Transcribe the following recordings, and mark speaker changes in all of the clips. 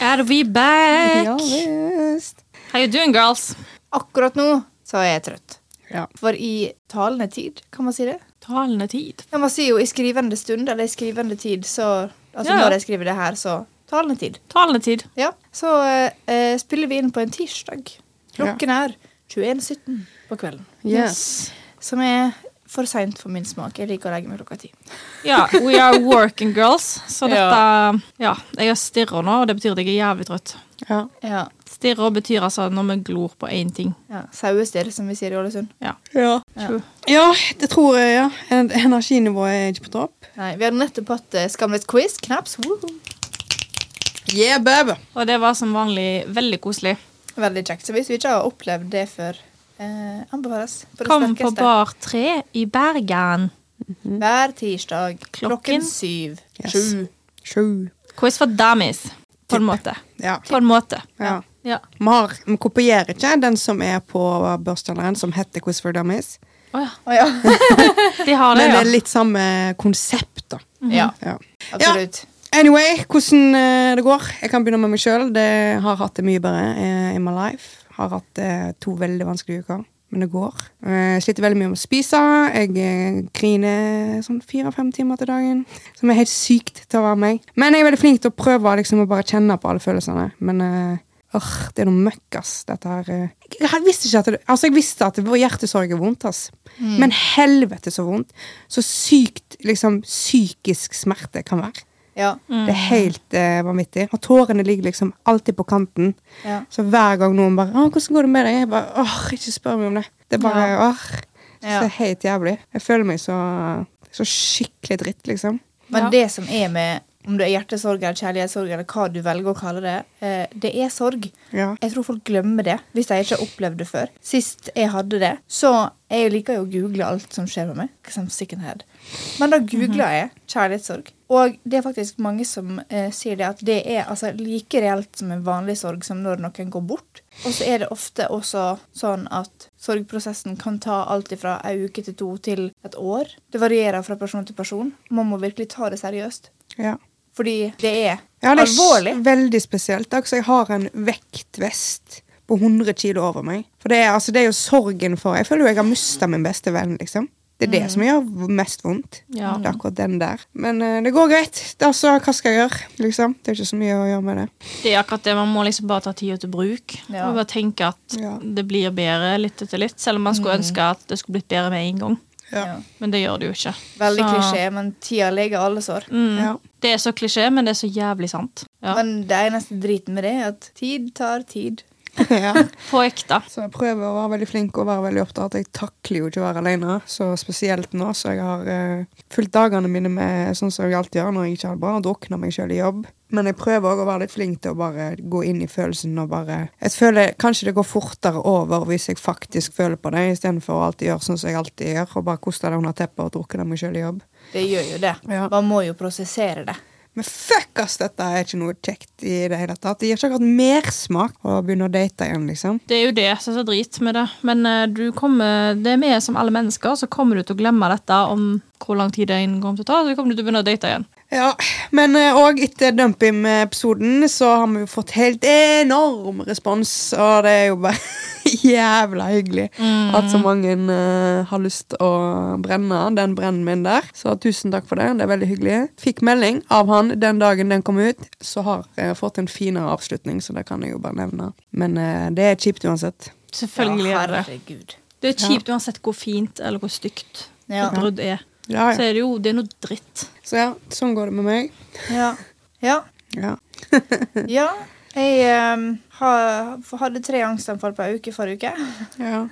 Speaker 1: are we back?
Speaker 2: Ja visst.
Speaker 1: How you doing, girls?
Speaker 2: Akkurat nå så er jeg trøtt.
Speaker 1: Ja.
Speaker 2: For i talende tid, kan man si det?
Speaker 1: Talende tid.
Speaker 2: Ja, man sier jo i skrivende stund eller i skrivende tid, så Altså
Speaker 1: Ja, ja.
Speaker 2: når jeg skriver det her, så talende tid.
Speaker 1: Talende tid.
Speaker 2: Ja. Så eh, spiller vi inn på en tirsdag. Klokken er 21.17 på kvelden.
Speaker 3: Yes.
Speaker 2: Som er for seint for min smak. Jeg liker å legge meg klokka ti.
Speaker 1: Ja, we are working girls. Så
Speaker 2: Ja.
Speaker 1: dette Ja, jeg er stirrer nå, og det betyr at jeg er jævlig trøtt.
Speaker 3: Ja.
Speaker 2: Ja.
Speaker 1: Stirrer betyr altså når vi glor på én ting.
Speaker 2: ja. Sauestirr, som vi sier i Ålesund.
Speaker 3: Ja.
Speaker 2: Ja.
Speaker 3: ja, det tror jeg, ja. En- Energinivået er ikke på topp.
Speaker 2: Nei, vi hadde nettopp hatt eh, Skamløs quiz. Knaps. Woohoo.
Speaker 3: Yeah, baby!
Speaker 1: Og det var som vanlig veldig koselig.
Speaker 2: Veldig kjekt. Så hvis vi ikke har opplevd det før, eh, anbefales. På det
Speaker 1: Kom på
Speaker 2: sterkeste.
Speaker 1: Bar 3 i Bergen.
Speaker 2: Hver tirsdag klokken,
Speaker 1: Klokken?
Speaker 2: syv.
Speaker 3: Mm. Yes.
Speaker 2: Sju.
Speaker 3: Sju.
Speaker 1: Quiz for dummies, på en måte.
Speaker 3: Ja.
Speaker 1: På en måte.
Speaker 3: ja.
Speaker 1: Ja.
Speaker 3: Vi, har, vi kopierer ikke den som er på børstaleren, som heter Quiz for Dummies.
Speaker 1: Å ja.
Speaker 2: Å ja.
Speaker 1: De har det,
Speaker 3: Men det er
Speaker 1: ja.
Speaker 3: litt samme konsept, da.
Speaker 2: ja,
Speaker 3: Mm. Ja.
Speaker 2: absolutt.
Speaker 3: Anyway, hvordan eh, det går. Jeg kan begynne med meg sjøl. Jeg har hatt det mye bedre eh, in my life. Har hatt eh, to veldig vanskelige uker, men det går. Eh, Jeg sliter veldig mye med å spise. Jeg eh, griner sånn fire-fem timer til dagen. Som er helt sykt til å være meg. Men jeg er veldig flink til å prøve liksom, å bare kjenne på alle følelsene. Men eh, Åh, det er noe møkk, ass. Dette her eh. jeg, jeg visste ikke at det, altså, jeg visste at det var hjertesorg er vondt, ass. Men helvete så vondt. Så sykt liksom, psykisk smerte kan være.
Speaker 2: Ja.
Speaker 3: Det er helt eh, vanvittig. Og tårene ligger liksom alltid på kanten.
Speaker 2: Ja.
Speaker 3: Så hver gang noen bare «Åh, 'Hvordan går det med deg?' Jeg bare åh, ikke spør meg om det. Det er bare åh.
Speaker 2: Ja.
Speaker 3: Det er helt jævlig. Jeg føler meg så, så skikkelig dritt, liksom.
Speaker 2: Men
Speaker 1: Ja.
Speaker 2: det som er med om det er hjertesorg eller kjærlighetssorg, eller hva du velger å kalle det, eh, det er sorg.
Speaker 3: Ja.
Speaker 2: Jeg tror folk glemmer det hvis de ikke har opplevd det før. Sist jeg hadde det, så jeg liker jo å google alt som skjer med meg. 'cause I'm sick in the head. Men
Speaker 3: Mhm.
Speaker 2: da googla jeg kjærlighetssorg. Og det er faktisk mange som eh, sier det at det er altså, like reelt som en vanlig sorg som når noen går bort. Og så er det ofte også sånn at sorgprosessen kan ta alt fra ei uke til to til et år. Det varierer fra person til person. Man må virkelig ta det seriøst.
Speaker 3: Ja.
Speaker 2: Fordi det er
Speaker 3: Ja, det er
Speaker 2: alvorlig.
Speaker 3: s- veldig spesielt. da, så jeg har en vektvest på 100 kilo over meg. For det er, altså, det er jo sorgen for Jeg føler jo jeg har mista min beste venn, liksom. Det er det som gjør v- mest vondt.
Speaker 1: Ja.
Speaker 3: Det er akkurat den der. Men eh, det går greit. Det er altså, hva skal jeg gjøre? Liksom. Det er ikke så mye å gjøre med det.
Speaker 1: Det er akkurat det. Man må liksom bare ta tida til bruk.
Speaker 2: Ja.
Speaker 1: Og bare tenke at
Speaker 3: Ja.
Speaker 1: det blir bedre litt etter litt. Selv om man
Speaker 2: Mm.
Speaker 1: skulle ønske at det skulle blitt bedre med en gang.
Speaker 3: Ja.
Speaker 2: Ja.
Speaker 1: Men det gjør det jo ikke.
Speaker 2: Veldig
Speaker 1: Så-
Speaker 2: klisjé, men tida leger alle sår.
Speaker 1: Mm.
Speaker 3: Ja.
Speaker 1: Det er så klisjé, men det er så jævlig sant. Ja.
Speaker 2: Men det eneste driten med det er at tid tar tid.
Speaker 3: ja.
Speaker 1: På ekte.
Speaker 3: Så jeg prøver å være veldig flink og være veldig opptatt. Jeg takler jo ikke å være alene, så spesielt nå. Så jeg har eh, fulgt dagene mine med sånn som jeg alltid gjør når jeg ikke har det bra, og drukner meg sjøl i jobb. Men jeg prøver òg å være litt flink til å bare gå inn i følelsen og bare Jeg føler kanskje det går fortere over hvis jeg faktisk føler på det, istedenfor å alltid gjøre sånn som jeg alltid gjør, og bare koste det under teppet og drukne meg sjøl i jobb.
Speaker 2: Det gjør jo det.
Speaker 3: Ja.
Speaker 2: Man må jo prosessere det.
Speaker 3: Men fuck ass, dette er ikke noe kjekt i det hele tatt. Det gir ikke akkurat mersmak å begynne å date igjen, liksom.
Speaker 1: Det er jo det som er så drit med det. Men eh, du kommer, det er vi som alle mennesker, så kommer du til å glemme dette om hvor lang tid det en kommer til å ta. Så kommer du til å begynne å date igjen.
Speaker 3: Ja, men eh, og etter Dumpim-episoden så har vi jo fått helt enorm respons, og det er jo bare jævla hyggelig at så mange eh, har lyst å brenne den brennen min der. Så tusen takk for det, det er veldig hyggelig. Fikk melding av han den dagen den kom ut, så har jeg fått en finere avslutning, så det kan jeg jo bare nevne. Men eh, det er kjipt uansett.
Speaker 1: Selvfølgelig
Speaker 2: Ja,
Speaker 1: er det det.
Speaker 2: herregud.
Speaker 1: Det er kjipt uansett hvor fint eller hvor stygt
Speaker 2: Ja.
Speaker 1: et brudd er.
Speaker 3: Ja,
Speaker 1: Så
Speaker 3: ja.
Speaker 1: er det jo det er noe dritt.
Speaker 3: Så ja, sånn går det med meg.
Speaker 2: Ja. Ja.
Speaker 3: Ja.
Speaker 2: ja. Jeg ehm, ha- hadde tre angstanfall på ei uke forrige uke,
Speaker 3: ja.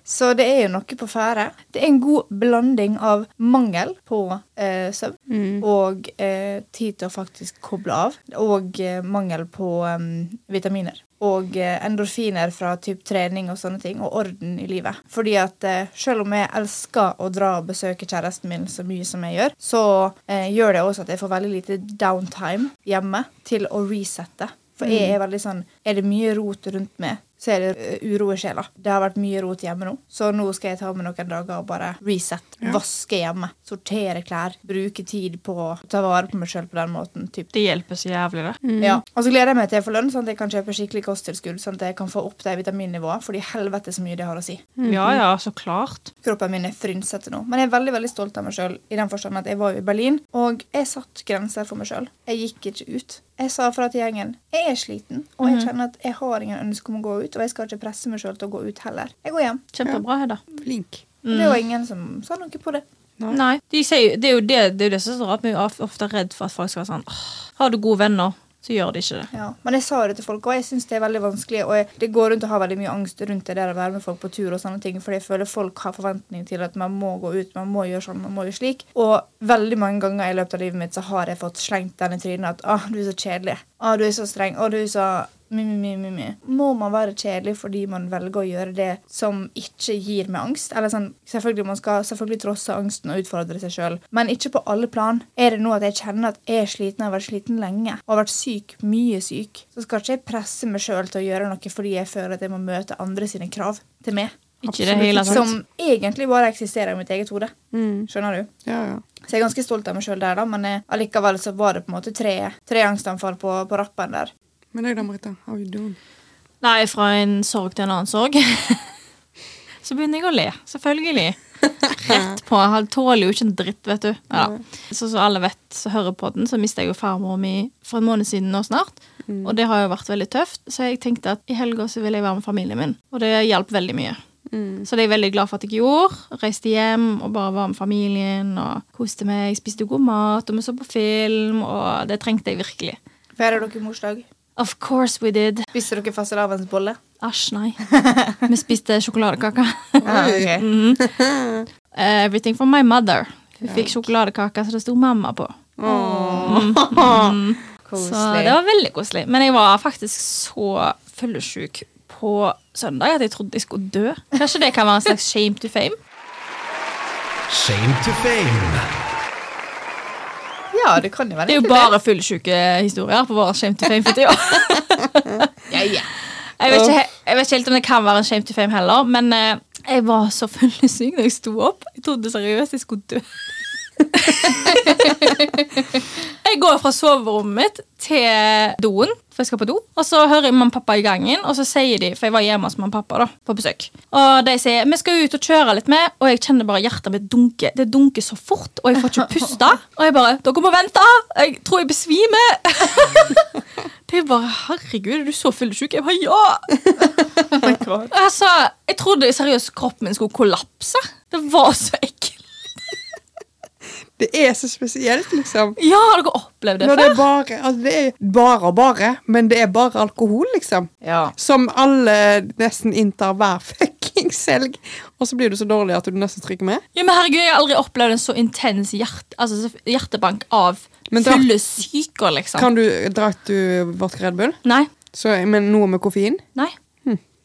Speaker 2: så det er jo noe på ferde. Det er en god blanding av mangel på eh, søvn
Speaker 3: Mm.
Speaker 2: og eh, tid til å faktisk koble av, og eh, mangel på em, vitaminer. Og eh, endorfiner fra typ trening og sånne ting, og orden i livet. Fordi at eh, selv om jeg elsker å dra og besøke kjæresten min så mye som jeg gjør, så eh, gjør det også at jeg får veldig lite downtime hjemme til å resette. For jeg er veldig sånn Er det mye rot rundt meg, så er det eh, uro i sjela. Det har vært mye rot hjemme nå, så nå skal jeg ta meg noen dager og bare reset. Vaske hjemme, sortere klær, bruke tid på å ta vare på meg sjøl på den måten. Typ.
Speaker 1: Det hjelper så jævlig, det.
Speaker 2: Ja. Og så gleder jeg meg til jeg får lønn, sånn at jeg kan kjøpe skikkelig kosttilskudd. Sånn at jeg kan få opp det vitaminnivået, fordi helvete så mye det har å si.
Speaker 1: Ja ja, så klart.
Speaker 2: Kroppen min er frynsete nå. Men jeg er veldig veldig stolt av meg sjøl. I den forstand at jeg var jo i Berlin, og jeg satt grenser for meg sjøl. Jeg gikk ikke ut. Jeg sa fra til gjengen jeg er sliten, og jeg kjenner at jeg har ingen ønske om å gå ut. Og jeg skal ikke presse meg sjøl til å gå ut heller. Jeg går hjem.
Speaker 1: Kjempebra, Hedda.
Speaker 3: Flink.
Speaker 2: Det var ingen som sa noe på det.
Speaker 3: Nei.
Speaker 1: Nei. De sier, det er jo det, det, er jo det som er så rart. Vi er jo of- ofte redd for at folk skal være sånn «Åh, Har du gode venner, så gjør de ikke det.
Speaker 2: Ja. Men jeg sa det til folk, og jeg syns det er veldig vanskelig. Og jeg, det går rundt og har veldig mye angst rundt det der å være med folk på tur og sånne ting, fordi jeg føler folk har forventning til at man må gå ut, man må gjøre sånn, man må gjøre slik. Og veldig mange ganger i løpet av livet mitt så har jeg fått slengt den i trynet at ah, du er så kjedelig. Ah, du er så streng. Ah, du er så mi, mi, mi, mi, mi. Må man være kjedelig fordi man velger å gjøre det som ikke gir meg angst? Eller sånn, selvfølgelig Man skal selvfølgelig trosse angsten og utfordre seg sjøl, men ikke på alle plan. Er det nå at jeg kjenner at jeg er sliten, jeg har vært sliten lenge og har vært syk, mye syk, så skal ikke jeg presse meg sjøl til å gjøre noe fordi jeg føler at jeg må møte andre sine krav til meg.
Speaker 1: Ikke det hele tatt.
Speaker 2: Som egentlig bare eksisterer i mitt eget hode. Skjønner du?
Speaker 3: Ja, ja.
Speaker 2: Så jeg er ganske stolt av meg sjøl der, da, men eh, allikevel så var det på en måte tre, tre angstanfall på, på rappen der.
Speaker 3: Men deg da, Marita? How you doing?
Speaker 1: Nei, fra en sorg til en annen sorg. Så begynner jeg å le, selvfølgelig. Rett på. Han tåler jo ikke en dritt, vet du. Ja. Så som alle vet som hører på den, så mista jeg jo farmor mi for en måned siden nå snart. Og det har jo vært veldig tøft, så jeg tenkte at i helga så vil jeg være med familien min. Og det hjalp veldig mye.
Speaker 3: Mm.
Speaker 1: Så det er jeg veldig glad for at jeg gjorde. Reiste hjem og bare var med familien og koste meg. Spiste god mat, og vi så på film, og det trengte jeg virkelig.
Speaker 2: Feirer dere morsdag?
Speaker 1: Of course we did.
Speaker 2: Spiste dere fastelavnsbolle?
Speaker 1: Æsj, nei. Vi spiste sjokoladekake.
Speaker 2: Ah, ok.
Speaker 1: Mm. Everything from my mother. Hun fikk sjokoladekake så det sto mamma på. Så det var veldig koselig. Men jeg var faktisk så fyllesyk på søndag at jeg trodde jeg skulle dø. Kanskje det kan være en slags shame to fame?
Speaker 4: Shame to fame.
Speaker 2: Ja, det kan jo
Speaker 1: Det
Speaker 2: være.
Speaker 1: er jo bare fyllesyke historier på vår shame to fame for tida.
Speaker 2: Ja, ja.
Speaker 1: Jeg vet, ikke, he- jeg vet ikke helt om det kan være en shame to fame heller, men eh, jeg var så fyllesyk da jeg sto opp. Jeg trodde seriøst jeg skulle dø. jeg går fra soverommet mitt til doen, for jeg skal på do. Og så hører jeg mamma og pappa i gangen, og så sier de For jeg var hjemme hos mamma og pappa da, på besøk. Og de sier vi skal ut og kjøre litt med, og jeg kjenner bare hjertet mitt dunke. Det dunker så fort, og jeg får ikke puste. Og jeg bare Dere må vente! Jeg tror jeg besvimer. Det er bare, herregud, er du så fyllesyk? Jeg bare, ja!
Speaker 3: Oh
Speaker 1: Altså, jeg trodde seriøst kroppen min skulle kollapse. Det var så ekkelt.
Speaker 3: Det er så spesielt, liksom.
Speaker 1: Ja, har dere opplevd det
Speaker 3: Når det
Speaker 1: før?
Speaker 3: er bare altså Det er bare og bare, men det er bare alkohol, liksom.
Speaker 2: ja.
Speaker 3: Som alle nesten inntar hver fuckings helg. Og så blir du så dårlig at du nesten stryker med.
Speaker 1: Ja, men herregud, Jeg har aldri opplevd en så intens hjert, altså, så hjertebank av
Speaker 3: Men da-
Speaker 1: fyllesyker, liksom.
Speaker 3: Kan du, Drakk du vodka Red Bull?
Speaker 1: Nei.
Speaker 3: Så, men noe med koffein?
Speaker 1: Nei.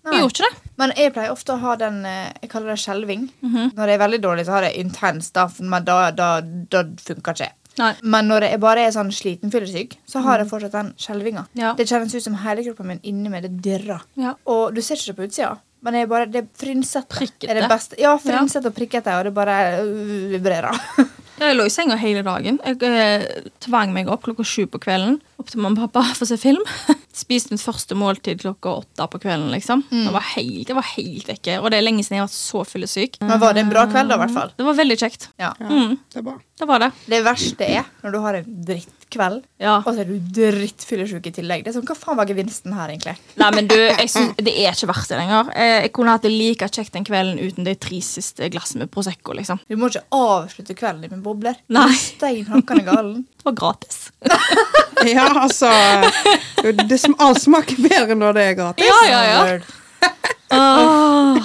Speaker 1: Jeg gjorde ikke det.
Speaker 2: Men jeg pleier ofte å ha den eh, Jeg kaller det skjelving.
Speaker 1: Mhm.
Speaker 2: Når jeg er veldig dårlig, så har jeg intens, da, men da, da, da funker ikke jeg.
Speaker 1: Nei.
Speaker 2: Men når jeg bare er sånn sliten fyllesyk, så har jeg fortsatt den skjelvinga.
Speaker 1: Mhm. Ja.
Speaker 2: Det kjennes ut som hele kroppen min inni meg det dirrer.
Speaker 1: Ja.
Speaker 2: Og du ser ikke det på utsida, men det er bare det er frynsete.
Speaker 1: Prikkete.
Speaker 2: Er det beste. Ja, frynsete og prikkete, og det bare øh, vibrerer.
Speaker 1: Ja, Jeg lå i senga hele dagen. Jeg eh, tvang meg opp klokka sju på kvelden. Opp til mamma og pappa for å se film. Spiste mitt første måltid klokka åtte på kvelden. liksom. Jeg var helt, jeg var helt vekke, og det er lenge siden jeg har vært så fyllesyk.
Speaker 2: Men var det en bra kveld, da, i hvert fall?
Speaker 1: Det var veldig kjekt.
Speaker 2: Ja.
Speaker 1: Mm,
Speaker 3: Det er bra.
Speaker 1: det var det.
Speaker 2: Det verste er når du har en drittkveld,
Speaker 1: Ja.
Speaker 2: og så er du drittfyllesyk i tillegg. Det er sånn, Hva faen var gevinsten her, egentlig?
Speaker 1: Nei, men du, jeg synes, Det er ikke verdt det lenger. Eh, Jeg kunne hatt det like kjekt den kvelden uten de tre siste glassene med Prosecco. liksom.
Speaker 2: Du må ikke avslutte kvelden din med bobler.
Speaker 1: Nei.
Speaker 2: Du er Stein hakkende galen.
Speaker 1: Det var gratis.
Speaker 3: Ja, altså det som, Alt smaker bedre når det er gratis.
Speaker 1: Ja, ja, ja. Åh.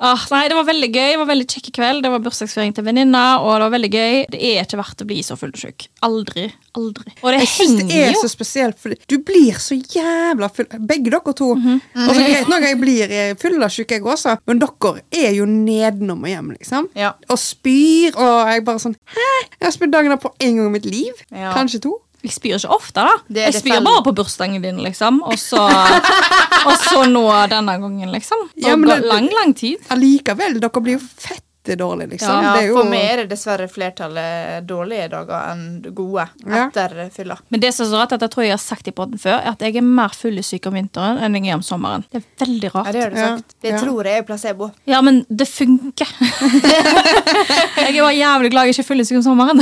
Speaker 1: Åh, nei, det var veldig gøy. Det var veldig kjekk kveld. Det var bursdagsfeiring til venninna, og det var veldig gøy. Det er ikke verdt å bli så fyllesyk. Aldri. Aldri. Og det
Speaker 3: synes
Speaker 1: henger
Speaker 3: det er
Speaker 1: jo.
Speaker 3: så spesielt, for du blir så jævla full. Begge dere to.
Speaker 2: Mhm.
Speaker 3: Og så greit nok, jeg blir eh, full av syke, jeg også, men dere er jo nedenom og hjem, liksom.
Speaker 2: Ja.
Speaker 3: Og spyr, og jeg bare sånn Hæ? Jeg har spydd dagen der på en gang i mitt liv.
Speaker 2: Ja.
Speaker 3: Kanskje to.
Speaker 1: Jeg spyr ikke ofte, da.
Speaker 2: Det-
Speaker 1: jeg
Speaker 2: det
Speaker 1: spyr
Speaker 2: fell-
Speaker 1: bare på bursdagen din, liksom. Og så, og så nå denne gangen, liksom. Det
Speaker 3: Ja, men
Speaker 1: går
Speaker 3: det-
Speaker 1: lang, lang tid.
Speaker 3: Allikevel, dere blir jo fette dårlige, liksom.
Speaker 2: sånn, Ja,
Speaker 3: det er jo,
Speaker 2: For meg er det dessverre flertallet dårlige dager enn gode
Speaker 3: Ja.
Speaker 2: etter fylla.
Speaker 1: Men det som er så rart, at jeg tror jeg har sagt i podden før, er at jeg er mer fyllesyk om vinteren enn jeg er om sommeren. Det er veldig
Speaker 2: Ja,
Speaker 1: rart.
Speaker 2: det har du
Speaker 3: Ja,
Speaker 2: sagt. Det
Speaker 3: ja.
Speaker 2: tror jeg er placebo.
Speaker 1: Ja, men det funker. jeg er bare jævlig glad jeg ikke er fyllesyk om sommeren.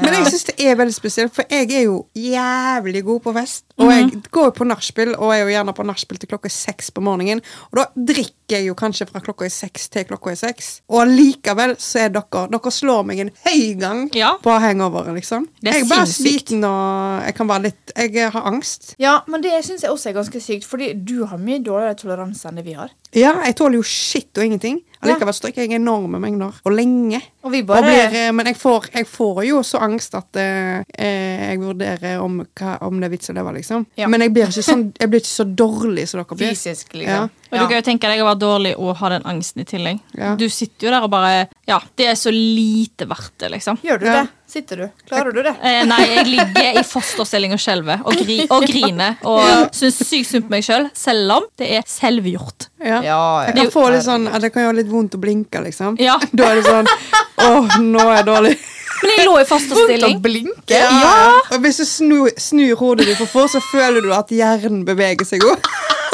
Speaker 3: Men jeg syns det er veldig spesielt, for jeg er jo jævlig god på fest. Og jeg
Speaker 1: Mhm.
Speaker 3: går jo på nachspiel, og er jo gjerne på nachspiel til klokka seks på morgenen. Og da drikker jeg jo kanskje fra klokka er seks til klokka er seks. Og allikevel så er dere Dere slår meg en høy gang
Speaker 1: Ja.
Speaker 3: på hangover, liksom.
Speaker 1: Det er
Speaker 3: jeg er bare
Speaker 1: sinnssykt.
Speaker 3: sliten, og jeg kan være litt Jeg har angst.
Speaker 2: Ja, men det syns jeg også er ganske sykt, fordi du har mye dårligere toleranse enn det vi har.
Speaker 3: Ja, jeg tåler jo shit og ingenting. Allikevel så drikker jeg enorme mengder. Og lenge.
Speaker 2: Og vi bare
Speaker 3: Og blir, eh, men jeg får, jeg får jo så angst at eh, eh, jeg vurderer om, hva, om det er vits å leve, liksom.
Speaker 2: Ja.
Speaker 3: Men jeg blir, ikke sånn, jeg blir ikke så dårlig som dere blir.
Speaker 2: fysisk,
Speaker 3: Ja.
Speaker 2: liksom.
Speaker 1: Og du kan jo tenke deg å være dårlig og ha den angsten i tillegg.
Speaker 3: Ja.
Speaker 1: Du sitter jo der og bare Ja, det er så lite verdt det, liksom.
Speaker 2: Gjør du
Speaker 3: Ja.
Speaker 2: det? Sitter du? Klarer du det?
Speaker 1: Eh, nei, jeg ligger i fosterstilling og skjelver og, gri og griner. Og syns sykt synd på meg sjøl, selv, selv om det er selvgjort.
Speaker 3: Ja.
Speaker 2: Ja,
Speaker 3: Jeg kan få litt sånn at det kan gjøre litt vondt å blinke, liksom.
Speaker 1: Ja.
Speaker 3: Da er det sånn Å, nå er jeg dårlig.
Speaker 1: Men jeg lå i fosterstilling.
Speaker 2: blinke.
Speaker 3: Og hvis du snur, snur hodet ditt for fort, så føler du at hjernen beveger seg òg.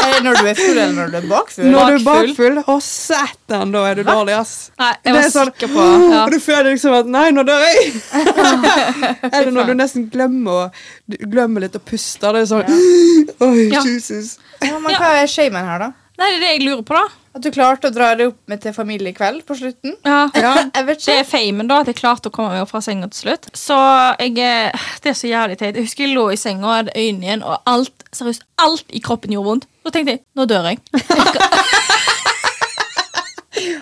Speaker 2: Er det Eh, når du er full, eller når du er bakfull?
Speaker 3: Når du er
Speaker 1: Bakfull.
Speaker 3: bakfull, å satan, da er du dårlig, ass.
Speaker 1: Nei, jeg
Speaker 3: Det
Speaker 1: var
Speaker 3: er sånn,
Speaker 1: sikker på ja.
Speaker 3: Og du føler liksom at Nei, nå dør jeg! Eller når du nesten glemmer, å- du glemmer litt å puste. Det er sånn Oi,
Speaker 1: Ja.
Speaker 3: Jesus.
Speaker 2: Ja, men hva er shamen her, da?
Speaker 1: Nei, det er det jeg lurer på, da.
Speaker 2: At du klarte å dra det opp med til familiekveld på slutten?
Speaker 1: Ja.
Speaker 3: Ja.
Speaker 2: Jeg vet
Speaker 1: Det
Speaker 2: ikke.
Speaker 1: er famen, da, at jeg klarte å komme meg opp fra senga til slutt. Så jeg er, Det er så jævlig teit. Jeg husker jeg lå i senga og hadde øynene igjen, og alt seriøst, alt i kroppen gjorde vondt. Da tenkte jeg nå dør jeg.
Speaker 3: Det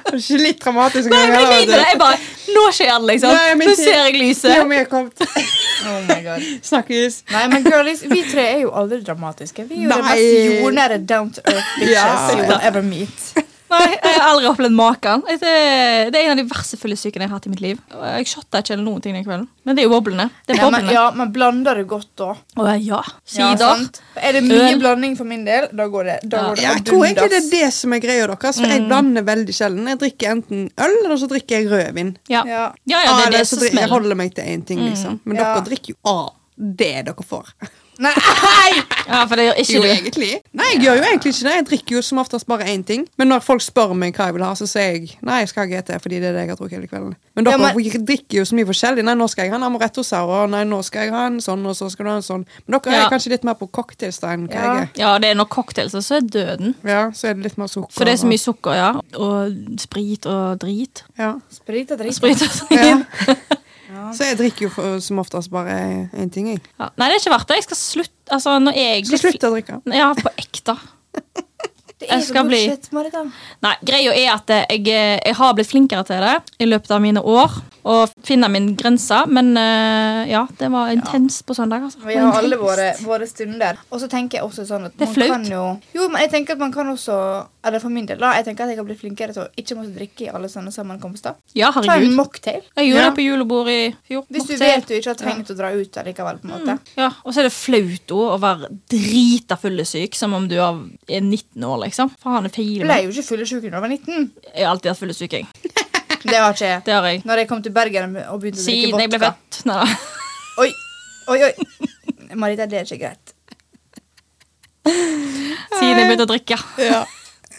Speaker 3: er Ikke litt dramatisk
Speaker 1: Nei, men
Speaker 3: engang.
Speaker 1: jeg
Speaker 3: eller?
Speaker 1: begynner det. Jeg bare Nå skjer det, liksom.
Speaker 3: Nei, men
Speaker 1: Nå
Speaker 3: det-
Speaker 1: ser jeg
Speaker 3: Det er
Speaker 1: lyset.
Speaker 3: om jeg kom til-
Speaker 2: Oh my god.
Speaker 3: Snakkes.
Speaker 2: Nei, men girlies, vi tre er jo aldri dramatiske. Vi er jo det
Speaker 3: Nei.
Speaker 2: mest jordnære down to earth bitches
Speaker 3: Ja.
Speaker 2: you will ever meet.
Speaker 1: Nei, Jeg har aldri opplevd maken. Det er det er en av de verste fyllesykene jeg har hatt i mitt liv. Og Jeg shotta ikke eller noen ting den kvelden. Men det er jo boblene. Det er
Speaker 2: Ja, men,
Speaker 1: boblene.
Speaker 2: ja, men blander det godt da.
Speaker 1: Å, ja.
Speaker 2: Ja,
Speaker 1: Sider.
Speaker 2: sant? er det mye
Speaker 1: Øl.
Speaker 2: blanding for min del, da går det, da
Speaker 1: Ja. Mm.
Speaker 2: går det
Speaker 3: Ja, jeg tror egentlig det
Speaker 2: abundas.
Speaker 3: er det som er greia deres. For jeg blander veldig sjelden. Jeg drikker enten øl, eller så drikker jeg rødvin.
Speaker 1: Ja. ja,
Speaker 2: Ja.
Speaker 1: ja, det
Speaker 3: Ah,
Speaker 1: er
Speaker 3: eller
Speaker 1: det
Speaker 3: så
Speaker 1: som
Speaker 3: dri- jeg
Speaker 1: smeller. Mm.
Speaker 3: holder meg til én ting, liksom. Men
Speaker 2: Ja.
Speaker 3: dere drikker jo av det dere får.
Speaker 2: Nei!
Speaker 1: Ja, for det gjør
Speaker 3: Jo,
Speaker 1: ikke du.
Speaker 3: egentlig. Nei, jeg gjør jo egentlig ikke det. Jeg drikker jo som oftest bare én ting. Men når folk spør meg hva jeg vil ha, så sier jeg nei, jeg skal ha GT. fordi det er det jeg har drukket hele kvelden. Men dere
Speaker 2: Ja, men-
Speaker 3: vi drikker jo så mye forskjellig. Nei, nå skal jeg ha en amaretto sour, nei, nå skal jeg ha en sånn, og så skal du ha en sånn. Men dere
Speaker 1: Ja.
Speaker 3: er kanskje litt mer på cocktails da enn hva
Speaker 2: Ja.
Speaker 3: jeg er.
Speaker 1: Ja, det er nok cocktails, og så er døden.
Speaker 3: Ja, så er det litt mer sukker.
Speaker 1: For det er så mye
Speaker 3: og-
Speaker 1: sukker, ja. Og sprit og drit.
Speaker 3: ja.
Speaker 2: Sprit og drikk.
Speaker 1: Sprit og drit.
Speaker 3: Ja. Så jeg drikker jo for, som oftest bare én ting, jeg.
Speaker 1: Ja. Nei, det er ikke verdt det. Jeg skal slutte Altså, når jeg
Speaker 3: Skal slutte å drikke.
Speaker 1: Ja, på ekte.
Speaker 2: Det
Speaker 1: Jeg
Speaker 2: er så
Speaker 1: skal bli-
Speaker 2: bullshit, Marita.
Speaker 1: Nei, greia er at eh, jeg, eh, jeg har blitt flinkere til det i løpet av mine år. Og finne min grense. Men eh, ja, det var intenst på søndag. Altså.
Speaker 2: Vi
Speaker 1: Det var
Speaker 2: har alle
Speaker 1: intenst.
Speaker 2: våre, våre stunder. Og så tenker jeg også sånn at
Speaker 1: Det er
Speaker 2: man
Speaker 1: flaut.
Speaker 2: kan jo Jo, men jeg tenker at man kan også Eller for min del, da. Jeg tenker at jeg har blitt flinkere til å ikke måtte drikke i alle sånne sammenkomster.
Speaker 1: Ja,
Speaker 2: Ta en
Speaker 1: herregud.
Speaker 2: mocktail.
Speaker 1: Jeg gjorde
Speaker 3: Ja.
Speaker 1: det på julebord i fjor.
Speaker 2: Hvis du
Speaker 1: Mocktail. Mm.
Speaker 2: vet du ikke har trengt å dra ut allikevel, på en måte.
Speaker 1: Ja, Og så er det flaut også å være drita fyllesyk som om du er er 19 år, liksom. Faen, det feiler
Speaker 2: Ble
Speaker 1: meg.
Speaker 2: jo ikke fyllesyk da jeg var 19.
Speaker 1: Jeg har alltid vært fyllesyk, jeg.
Speaker 2: Det har ikke jeg.
Speaker 1: Det har jeg.
Speaker 2: Når jeg kom til Bergen og begynte å drikke
Speaker 1: Siden jeg ble
Speaker 2: vodka.
Speaker 1: født. Nei da.
Speaker 2: Oi, oi, oi. Marita, det er ikke greit.
Speaker 1: Siden jeg begynte å drikke.
Speaker 3: Ja.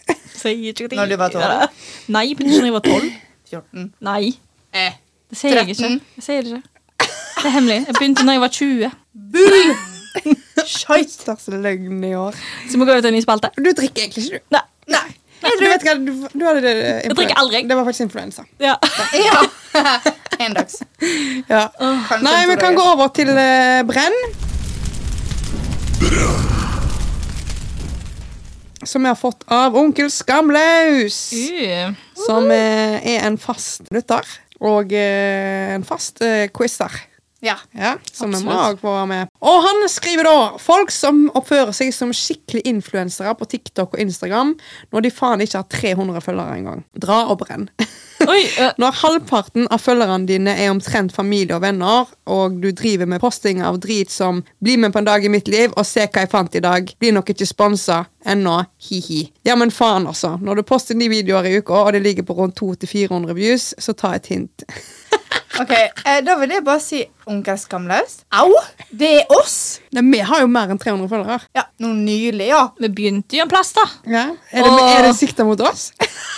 Speaker 1: Sier ikke at jeg-
Speaker 2: Når du var tolv?
Speaker 1: Nei, men ikke når jeg var tolv.
Speaker 2: 14.
Speaker 1: Nei.
Speaker 2: Eh.
Speaker 1: Det sier jeg ikke.
Speaker 2: Tretten.
Speaker 1: Jeg sier det ikke. Det er hemmelig. Jeg begynte når jeg var 20.
Speaker 2: Skeit.
Speaker 3: Største løgn i år.
Speaker 1: Så må vi gå ut til en ny spalte.
Speaker 3: Du drikker egentlig ikke, du.
Speaker 1: Nei.
Speaker 2: Nei.
Speaker 3: Du vet hva, du, du hadde det influen-
Speaker 1: drikker aldri.
Speaker 3: Det var faktisk influensa.
Speaker 1: Ja.
Speaker 2: Ja. En dags.
Speaker 3: Ja.
Speaker 2: Kanskje
Speaker 3: Nei,
Speaker 2: en
Speaker 3: vi
Speaker 2: to dager.
Speaker 3: kan gå over til eh, brenn. Som vi har fått av onkel Skamlaus.
Speaker 1: Uh.
Speaker 3: Som eh, er en fast lytter. Og eh, en fast eh, quizer.
Speaker 2: Ja.
Speaker 3: Ja, som vi må
Speaker 1: Absolutt.
Speaker 3: også få være med. Og han skriver da folk som oppfører seg som skikkelig influensere på TikTok og Instagram når de faen ikke har 300 følgere engang. Dra og brenn.
Speaker 1: Oi, eh,
Speaker 3: Når halvparten av følgerne dine er omtrent familie og venner, og du driver med posting av drit som 'bli med på en dag i mitt liv' og 'se hva jeg fant i dag', blir nok ikke sponsa ennå, hi-hi. Ja, men faen, altså. Når du poster ni videoer i uka, og det ligger på rundt 200-400 views, så ta et hint.
Speaker 2: Ok, eh, Da vil jeg bare si onkel skamløs. Au! Det er oss!
Speaker 3: Nei, vi har jo mer enn 300 følgere.
Speaker 2: Ja, Noe nylig, ja.
Speaker 1: vi begynte jo en plass, da.
Speaker 3: Ja. Er det,
Speaker 1: Åh.
Speaker 3: er det sikta mot oss?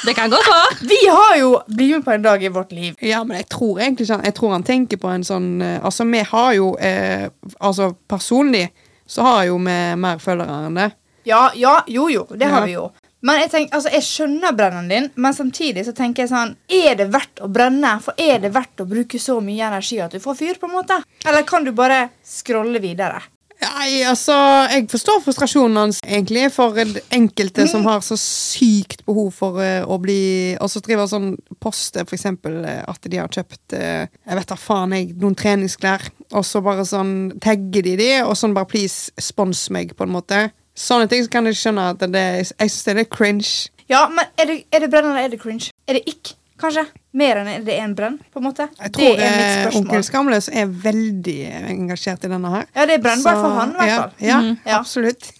Speaker 1: Det kan godt være.
Speaker 2: Vi har jo Bli med på en dag i vårt liv.
Speaker 3: Ja, men jeg tror egentlig ikke han Jeg tror han tenker på en sånn eh, Altså, vi har jo eh, Altså, personlig så har jo vi mer følgere enn det.
Speaker 2: Ja, ja, jo, jo. Det
Speaker 3: Ja.
Speaker 2: har vi jo. Men jeg, tenker, altså, jeg skjønner brennen din, men samtidig så tenker jeg sånn Er det verdt å brenne? For er det verdt å bruke så mye energi at du får fyr? på en måte? Eller kan du bare scrolle videre?
Speaker 3: Nei, altså Jeg forstår frustrasjonen hans, egentlig, for en- enkelte som har så sykt behov for eh, å bli Og så driver sånn poster, for eksempel, eh, at de har kjøpt eh, Jeg vet da faen, jeg, noen treningsklær, og så bare sånn tagger de de, og sånn bare please, spons meg, på en måte. Sånne ting så kan jeg skjønne at det Jeg syns det er litt cringe.
Speaker 2: Ja, men er det, er det brenn eller er det cringe? Er det ikk, kanskje? Mer enn er det en brenn? på en måte?
Speaker 3: Jeg tror
Speaker 2: det er mitt
Speaker 3: eh,
Speaker 2: spørsmål.
Speaker 3: onkel Skamløs er veldig engasjert i denne her.
Speaker 2: Ja, det er brennbart
Speaker 3: Så-
Speaker 2: for han, i hvert fall. Mm.
Speaker 3: Ja, ja
Speaker 2: Ja.
Speaker 3: absolutt.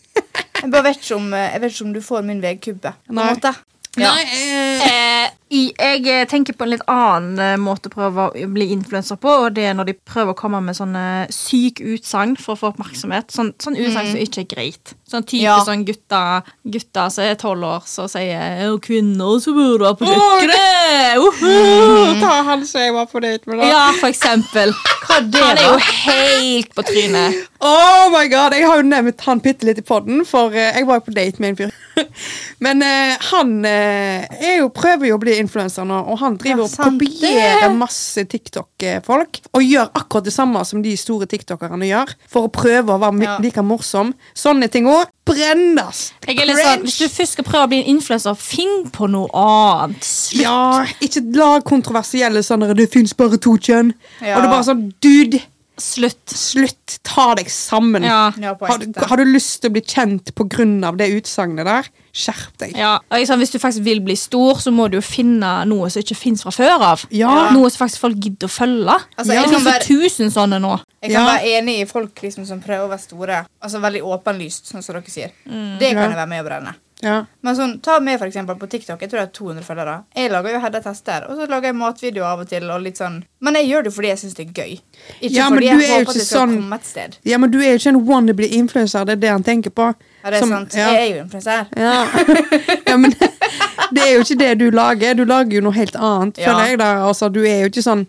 Speaker 2: Jeg bare vet ikke om, eh, jeg vet ikke om du får min vedkubbe. på en
Speaker 3: Nei.
Speaker 2: måte. Ja.
Speaker 3: Nei, eh,
Speaker 1: Eh, i- jeg eh, tenker på en litt annen eh, måte å prøve å bli influenser på. Og det er når de prøver å komme med sånne syk utsagn for å få oppmerksomhet. Sånn, sånn utsagn som ikke er greit. Sånn type
Speaker 2: Ja.
Speaker 1: sånn gutta, gutta som er tolv år, som sier «Å, 'kvinner som burde være på
Speaker 3: Å, det-
Speaker 1: kjøkkenet'. Uhu!
Speaker 3: mm. Ta han som jeg var på date med, da.
Speaker 1: Mm-hmm. Ja, for eksempel. Han er jo helt på trynet.
Speaker 3: Oh my god, Jeg har jo nevnt han bitte litt i poden, for eh, jeg var jo på date med en fyr. Men eh, han eh, er jo, prøver jo å bli influenser nå, og han
Speaker 2: Ja,
Speaker 3: driver og
Speaker 2: sant
Speaker 3: kopierer masse TikTok-folk. Og gjør akkurat det samme som de store tiktokerne gjør, for å prøve å være mi-
Speaker 2: Ja.
Speaker 3: like morsom. Sånne ting òg. Brennes!
Speaker 1: Jeg er litt sånn, Hvis du først skal prøve å bli en influenser, finn på noe annet. Slutt.
Speaker 3: Ja, ikke lag kontroversielle sånn der, Det fins bare to kjønn.
Speaker 2: Ja.
Speaker 3: Og det er bare sånn Dude,
Speaker 1: Slutt.
Speaker 3: slutt! Ta deg sammen.
Speaker 1: Ja.
Speaker 2: Ja, på
Speaker 3: Ah, har, du,
Speaker 2: ekte.
Speaker 3: har du lyst til å bli kjent pga. det utsagnet der? Skjerp deg.
Speaker 1: Ja, og jeg sa, Hvis du faktisk vil bli stor, så må du jo finne noe som ikke fins fra før av.
Speaker 3: Ja.
Speaker 1: Noe som faktisk folk gidder å følge.
Speaker 2: Altså,
Speaker 1: Det
Speaker 2: jeg kan
Speaker 1: finnes
Speaker 2: være-
Speaker 1: jo tusen sånne nå.
Speaker 2: Jeg kan
Speaker 3: Ja.
Speaker 2: være enig i folk liksom, som prøver å være store. Altså Veldig åpenlyst, sånn som dere sier. Det kan
Speaker 3: Mm. Ja.
Speaker 2: jeg være med å brenne.
Speaker 3: Ja.
Speaker 2: Men sånn, ta meg for eksempel på TikTok. Jeg tror jeg har 200 følgere. Jeg lager jo Hedda Tester, og så lager jeg matvideoer av og til. Og litt sånn. Men jeg gjør det fordi jeg syns det er gøy. Ikke
Speaker 3: Ja, men
Speaker 2: fordi
Speaker 3: du er
Speaker 2: jeg
Speaker 3: jo
Speaker 2: håper
Speaker 3: ikke
Speaker 2: at jeg skal
Speaker 3: sånn-
Speaker 2: komme et sted.
Speaker 3: ja, men du er jo ikke en wannabe-influencer. Det er det han tenker på.
Speaker 2: Ja, det er
Speaker 3: Som-
Speaker 2: sant.
Speaker 3: Ja.
Speaker 2: Jeg er jo influenser.
Speaker 3: Ja. ja, men det er jo ikke det du lager. Du lager jo noe helt annet,
Speaker 2: Ja.
Speaker 3: føler jeg. da. Altså, du er jo ikke sånn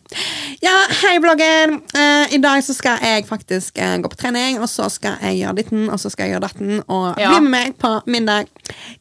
Speaker 3: Ja, hei, bloggen. Eh, I dag så skal jeg faktisk eh, gå på trening, og så skal jeg gjøre ditten, og så skal jeg gjøre datten, og
Speaker 2: Ja.
Speaker 3: bli med meg på middag.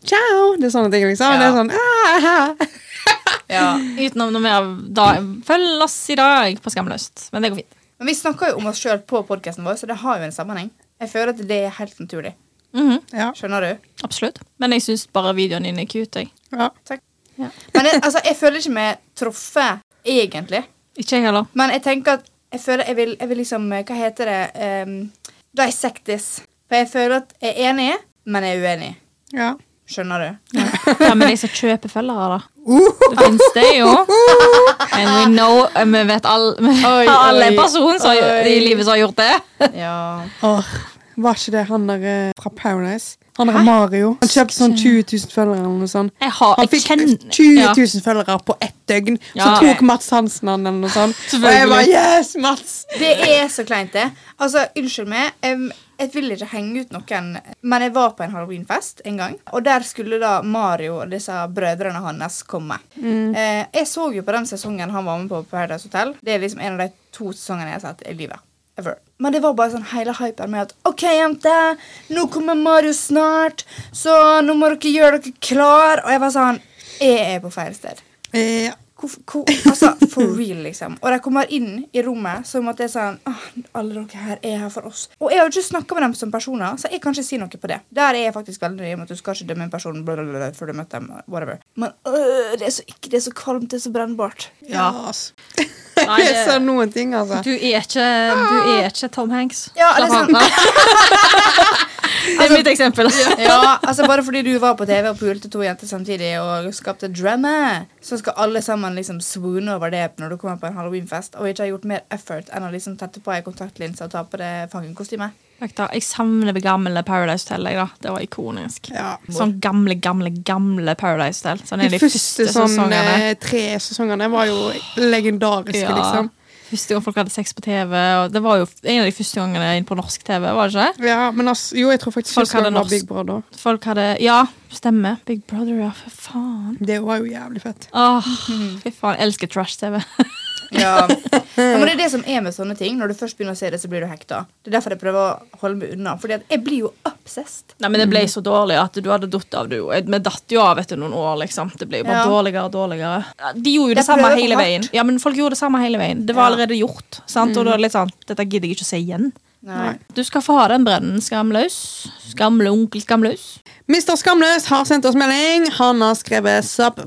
Speaker 3: Ciao! Det er sånne ting, liksom.
Speaker 2: Ja.
Speaker 3: Det er sånn ah, ah.
Speaker 2: Ja.
Speaker 1: Utenom noe mer da, Følg oss i dag på Skamløst. Men det går fint.
Speaker 2: Men vi snakker jo om oss sjøl på podkasten vår, så det har jo en sammenheng. Jeg føler at det er helt naturlig.
Speaker 1: Mhm,
Speaker 3: Ja.
Speaker 2: Skjønner du?
Speaker 1: Absolutt. Men jeg syns bare videoen din er cute. Jeg.
Speaker 3: ja.
Speaker 2: Takk.
Speaker 1: Ja.
Speaker 2: Men jeg, altså, jeg føler ikke meg truffet, egentlig.
Speaker 1: Ikke jeg heller.
Speaker 2: Men jeg tenker at jeg føler jeg vil, jeg vil liksom eh, Hva heter det? Um, dissect this. For jeg føler at jeg er enig, men jeg er uenig.
Speaker 3: ja.
Speaker 2: Skjønner du?
Speaker 1: Ja, men de som kjøper følgere, da.
Speaker 2: Uh.
Speaker 1: Det fins det jo.
Speaker 3: Uh!
Speaker 1: And we know Vi vet alle Vi
Speaker 2: Oi,
Speaker 1: har alle en
Speaker 2: oi,
Speaker 1: person som, har-
Speaker 2: oi.
Speaker 1: i livet som har gjort det.
Speaker 2: Ja.
Speaker 3: Åh, var ikke det han der eh, fra Paradise? Han der Mario. Han kjøpte sånn 20 000 følgere eller noe sånt.
Speaker 1: Jeg har-
Speaker 3: han
Speaker 1: jeg
Speaker 3: fikk
Speaker 1: kjenner-
Speaker 3: 20
Speaker 1: ja.
Speaker 3: 000 følgere på ett døgn. Så
Speaker 1: Ja.
Speaker 3: tok Mats Hansen han eller noe sånt. Og jeg
Speaker 1: Selvfølgelig.
Speaker 3: bare Yes, Mats!
Speaker 2: Det er så kleint, det. Altså, Unnskyld meg. em, jeg vil ikke henge ut noen, men jeg var på en halloweenfest en gang. Og der skulle da Mario og disse brødrene hans komme. Eh, jeg så jo på den sesongen han var med på på Paradise Hotel. Det er liksom en av de to sesongene jeg har sett i livet. Ever. Men det var bare sånn hele hypen med at OK, jenter, nå kommer Mario snart, så nå må dere gjøre dere klar. Og jeg var sånn Jeg er på feil sted.
Speaker 3: Eh,
Speaker 2: Hvorfor- hvor, altså, for real, liksom. Og de kommer inn i rommet som at det er sånn Åh, alle dere her er her for oss. Og jeg har jo ikke snakka med dem som personer, så jeg kan ikke si noe på det. Der er jeg faktisk veldig nøye med at du skal ikke dømme en person bla, bla, bla, bla, før du møter dem. whatever. Men øh, det, er så ikke, det er så kvalmt, det er så brennbart.
Speaker 3: ja. ass.
Speaker 1: Nei,
Speaker 3: Altså, Jeg
Speaker 1: det-
Speaker 3: ser noen ting, altså.
Speaker 1: Du er ikke, du er ikke Tom Hanks.
Speaker 2: Ja, det er
Speaker 1: Slapp
Speaker 2: sånn-
Speaker 1: av.
Speaker 3: liksom.
Speaker 1: det er mitt eksempel.
Speaker 2: Ja, altså Bare fordi du var på TV og pulte to jenter samtidig og skapte drama, så skal alle sammen liksom swoone over det når du kommer på en halloweenfest og ikke har gjort mer effort enn å liksom tette på ei kontaktlinse og ta på det fangenkostymet.
Speaker 1: Fuck da, Jeg savner det gamle Paradise Hotel. Jeg, da. Det var ikonisk.
Speaker 3: Ja.
Speaker 1: Sånn gamle, gamle, gamle Paradise Hotel. Sånn en
Speaker 3: De første sånn,
Speaker 1: sesongene.
Speaker 3: eh, tre sesongene var jo legendariske,
Speaker 1: Ja.
Speaker 3: liksom.
Speaker 1: Første gang folk hadde sex på TV. Og det var jo en av de første gangene inn på norsk TV. var det ikke?
Speaker 3: Ja, men altså, jo, jeg tror faktisk
Speaker 1: Folk
Speaker 3: første gang
Speaker 1: hadde
Speaker 3: var
Speaker 1: norsk.
Speaker 3: Big Brother.
Speaker 1: det? Folk hadde Ja, stemmer. Big Brother, ja, for faen.
Speaker 3: Det var jo jævlig fett.
Speaker 1: Åh, fy faen. Jeg elsker trash-TV.
Speaker 2: Ja. Ja, men det er det som er med sånne ting. Når du først begynner å se det, så blir du hekta. Det er derfor jeg prøver å holde meg unna. Fordi at jeg blir jo obsessed.
Speaker 1: Nei, men Det ble så dårlig at du hadde datt av. Du. Vi datt jo av etter noen år. liksom Det ble jo bare
Speaker 2: Ja.
Speaker 1: dårligere og dårligere. Ja, De gjorde jo det
Speaker 2: Jeg
Speaker 1: samme
Speaker 2: prøver for
Speaker 1: hele
Speaker 2: hardt.
Speaker 1: veien. Ja, men Folk gjorde det samme hele veien. Det var
Speaker 2: Ja.
Speaker 1: allerede gjort. sant? Og da er det litt sånn, Dette gidder jeg ikke å se igjen.
Speaker 2: Nei.
Speaker 1: Du skal få ha den brennen skamløs. Skamle onkel skamløs.
Speaker 3: Mr. Skamløs har sendt oss melding. Han har skrevet 'Sup,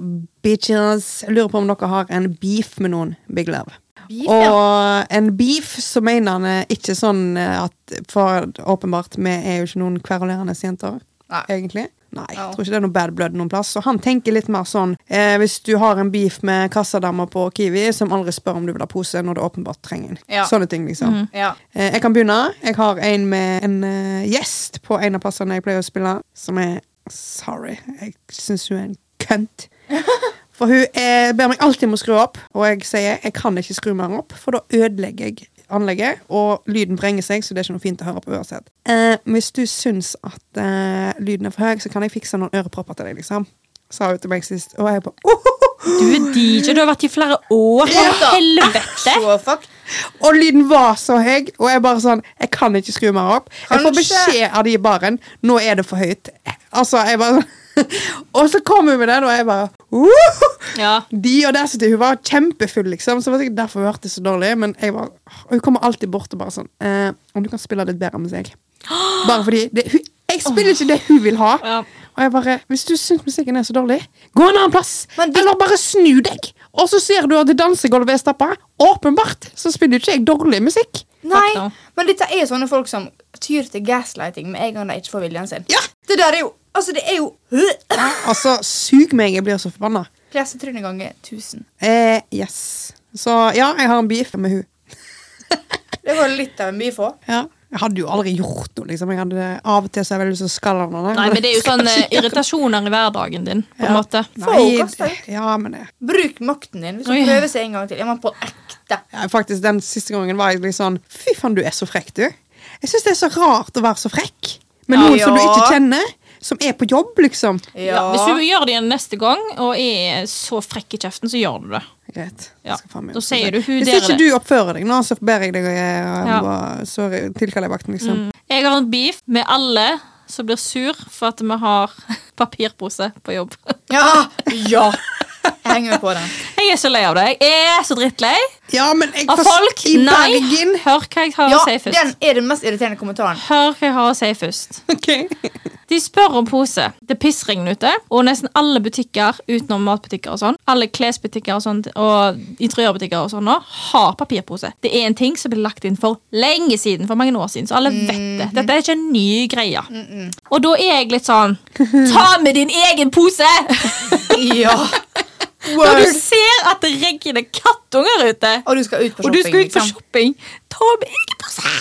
Speaker 3: bitches'. Lurer på om dere har en beef med noen. Big love.
Speaker 2: Beef,
Speaker 3: og en beef, så mener han eh, ikke sånn eh, at For åpenbart, vi er jo ikke noen kverulerende jenter.
Speaker 2: Nei.
Speaker 3: Egentlig. Nei, jeg
Speaker 2: Ja.
Speaker 3: tror ikke det er noe bad blood noen plass. Så han tenker litt mer sånn eh, Hvis du har en beef med kassadama på Kiwi som aldri spør om du vil ha pose når du åpenbart trenger en.
Speaker 2: Ja. Mhm.
Speaker 3: Sånne ting, liksom.
Speaker 2: Ja.
Speaker 3: Eh, Jeg kan begynne. Jeg har en med en eh, gjest på en av plassene jeg pleier å spille, som er Sorry. Jeg syns hun er en kønt. For hun eh, ber meg alltid om å skru opp, og jeg sier jeg kan ikke skru mer opp, for da ødelegger jeg anlegget, og lyden vrenger seg, så det er ikke noe fint å høre på uansett. Eh, hvis du syns at eh, lyden er for høy, så kan jeg fikse noen ørepropper til deg, liksom. Sa hun til meg sist, og jeg bare
Speaker 1: Du er DJ, du har vært i flere år.
Speaker 2: Ja.
Speaker 1: For helvete!
Speaker 2: Så fuck.
Speaker 3: Og lyden var så høy, og jeg bare sånn Jeg kan ikke skru mer opp. Jeg får
Speaker 2: Kanskje-
Speaker 3: beskjed av de i baren. Nå er det for høyt. Altså, jeg bare Og så kom hun med den, og jeg bare «Woo!»
Speaker 1: Ja.
Speaker 3: De og dessuten, Hun var kjempefull, liksom, så det var sikkert derfor hun hørte så dårlig. Men jeg var, og hun kommer alltid bort og bare sånn eh, Om du kan spille litt bedre musikk? Bare fordi det, hun, Jeg spiller ikke det hun vil ha.
Speaker 1: Ja.
Speaker 3: Og jeg bare Hvis du syns musikken er så dårlig, gå en annen plass!
Speaker 2: Men det-
Speaker 3: Eller bare snu deg! Og så ser du at dansegulvet er stappa. Åpenbart så spiller ikke jeg dårlig musikk.
Speaker 2: Nei,
Speaker 1: no.
Speaker 2: men dette er jo sånne folk som tyr til gaslighting med en gang de ikke får viljen sin.
Speaker 3: Ja.
Speaker 2: Det der er jo Altså, det er jo
Speaker 3: Altså, sug meg, jeg blir så forbanna.
Speaker 2: Lesetrynet ganger 1000.
Speaker 3: Eh, yes. Så ja, jeg har en beef med hun.
Speaker 2: Det var litt av en byfå.
Speaker 3: Ja. Jeg hadde jo aldri gjort noe, liksom. Jeg hadde, av og til så er jeg veldig lyst til å skalle henne.
Speaker 1: Nei, men Det er jo sånn eh, irritasjoner i hverdagen din. på en
Speaker 3: Ja.
Speaker 1: måte
Speaker 2: Få henne kastet ut.
Speaker 3: Ja, men det
Speaker 2: Bruk makten din hvis
Speaker 1: Oi.
Speaker 2: du prøver seg en gang til. Er man på ekte?
Speaker 3: ja, Faktisk, den siste gangen var jeg litt sånn Fy faen, du er så frekk, du. Jeg syns det er så rart å være så frekk med
Speaker 2: Ja.
Speaker 3: noen som du ikke kjenner, som er på jobb, liksom.
Speaker 1: ja.
Speaker 2: Ja.
Speaker 1: Hvis du gjør det igjen neste gang og er så frekk i kjeften, så gjør du det.
Speaker 3: Greit.
Speaker 1: Ja.
Speaker 3: Jeg skal faen meg
Speaker 1: Da
Speaker 3: oppføre
Speaker 1: sier
Speaker 3: meg.
Speaker 1: du, hun
Speaker 3: Hvis
Speaker 1: der
Speaker 3: ikke
Speaker 1: er-
Speaker 3: du oppfører deg nå, så ber jeg deg eh,
Speaker 1: Ja. Mm.
Speaker 3: bare- så tilkaller jeg vakten, liksom.
Speaker 1: Jeg har en beef med alle som blir sur for at vi har papirpose på jobb.
Speaker 2: Ja! ja. Jeg henger meg på den.
Speaker 1: Jeg er så lei av det. Jeg er så drittlei
Speaker 3: Ja, men jeg
Speaker 1: av
Speaker 3: forst-
Speaker 1: folk.
Speaker 3: I
Speaker 1: Nei!
Speaker 3: Bergen
Speaker 1: Hør hva jeg har
Speaker 2: Ja,
Speaker 1: å si
Speaker 2: Den
Speaker 1: først.
Speaker 2: er den mest irriterende kommentaren.
Speaker 1: Hør hva jeg har å si først.
Speaker 3: Ok.
Speaker 1: De spør om pose. Det er pissregn ute, og nesten alle butikker utenom matbutikker og sånn, alle klesbutikker og sånn, og interiørbutikker og sånn nå, har papirpose. Det er en ting som ble lagt inn for lenge siden, for mange år siden, så alle vet det.
Speaker 2: Mhm.
Speaker 1: Dette er ikke en ny greie. Og da er jeg litt sånn Ta med din egen pose!
Speaker 2: Ja.
Speaker 1: Når du ser at det regner kattunger ute,
Speaker 2: Og du skal ut på
Speaker 1: og du
Speaker 2: shopping.
Speaker 1: skal ut på
Speaker 2: liksom.
Speaker 1: shopping, ta med egen pose!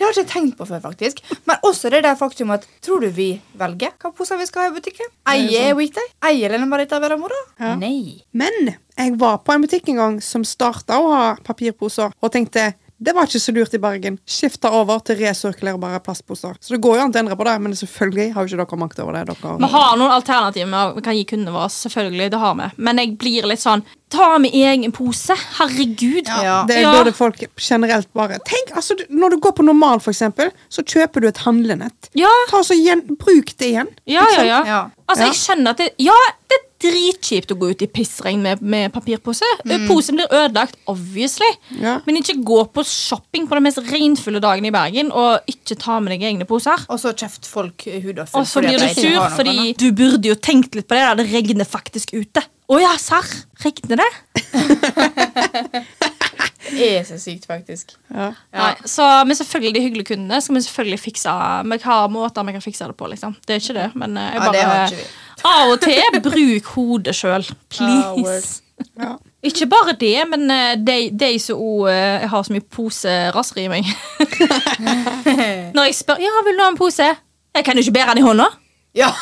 Speaker 2: Det har ikke jeg tenkt på før, faktisk. Men også det der faktum at tror du vi velger hva poser vi skal ha i butikken? Eier er weekday? Eier Lene Marita Vera Mora?
Speaker 3: Ja.
Speaker 2: Nei.
Speaker 3: Men jeg var på en butikk en gang som starta å ha papirposer, og tenkte det var ikke så lurt i Bergen. Skifta over til resirkulerbare plastposer. Så det går jo an å endre på det, men selvfølgelig har jo ikke dere makt over det.
Speaker 1: Vi
Speaker 3: Dere.
Speaker 1: har noen alternativer vi kan gi kundene våre, selvfølgelig, det har vi. Men jeg blir litt sånn Ta med egen pose! Herregud.
Speaker 2: Ja.
Speaker 3: Det
Speaker 1: Ja.
Speaker 3: burde folk generelt bare Tenk, altså, du- Når du går på normal, for eksempel, så kjøper du et handlenett.
Speaker 1: Ja.
Speaker 3: Ta og så gjen, Bruk det igjen.
Speaker 1: Ja, ja, ja.
Speaker 2: Ja.
Speaker 1: Altså,
Speaker 3: Ja.
Speaker 1: jeg skjønner at det Ja, det dritkjipt å gå ut i pissregn med, med papirpose.
Speaker 2: Mm.
Speaker 1: Eh, Posen blir ødelagt, obviously.
Speaker 3: Ja.
Speaker 1: Men ikke gå på shopping på de mest regnfulle dagene i Bergen og ikke ta med deg egne poser.
Speaker 2: Og så kjeft folk huden full.
Speaker 1: Og så blir
Speaker 2: fordi at
Speaker 1: du
Speaker 2: de ikke
Speaker 1: sur
Speaker 2: har noe
Speaker 1: fordi
Speaker 2: annet.
Speaker 1: du burde jo tenkt litt på det. da. Det regner faktisk ute. Å ja, serr? Regner det?
Speaker 2: Det er så sykt, faktisk.
Speaker 3: Ja.
Speaker 1: Nei, så, men selvfølgelig de hyggelige kundene skal vi selvfølgelig fikse. Vi har måter vi kan fikse det på. liksom. Det er ikke det, men eh, jeg
Speaker 2: Ja, det
Speaker 1: bare
Speaker 2: har ikke vi.
Speaker 1: Av og til bruk hodet sjøl.
Speaker 2: Ah, word.
Speaker 1: Please.
Speaker 3: Ja.
Speaker 1: ikke bare det, men eh, de, de som òg eh, har så mye poseraseri i meg. Når jeg spør ja, vil du ha en pose, jeg kan jo ikke bære den i hånda.
Speaker 2: Ja.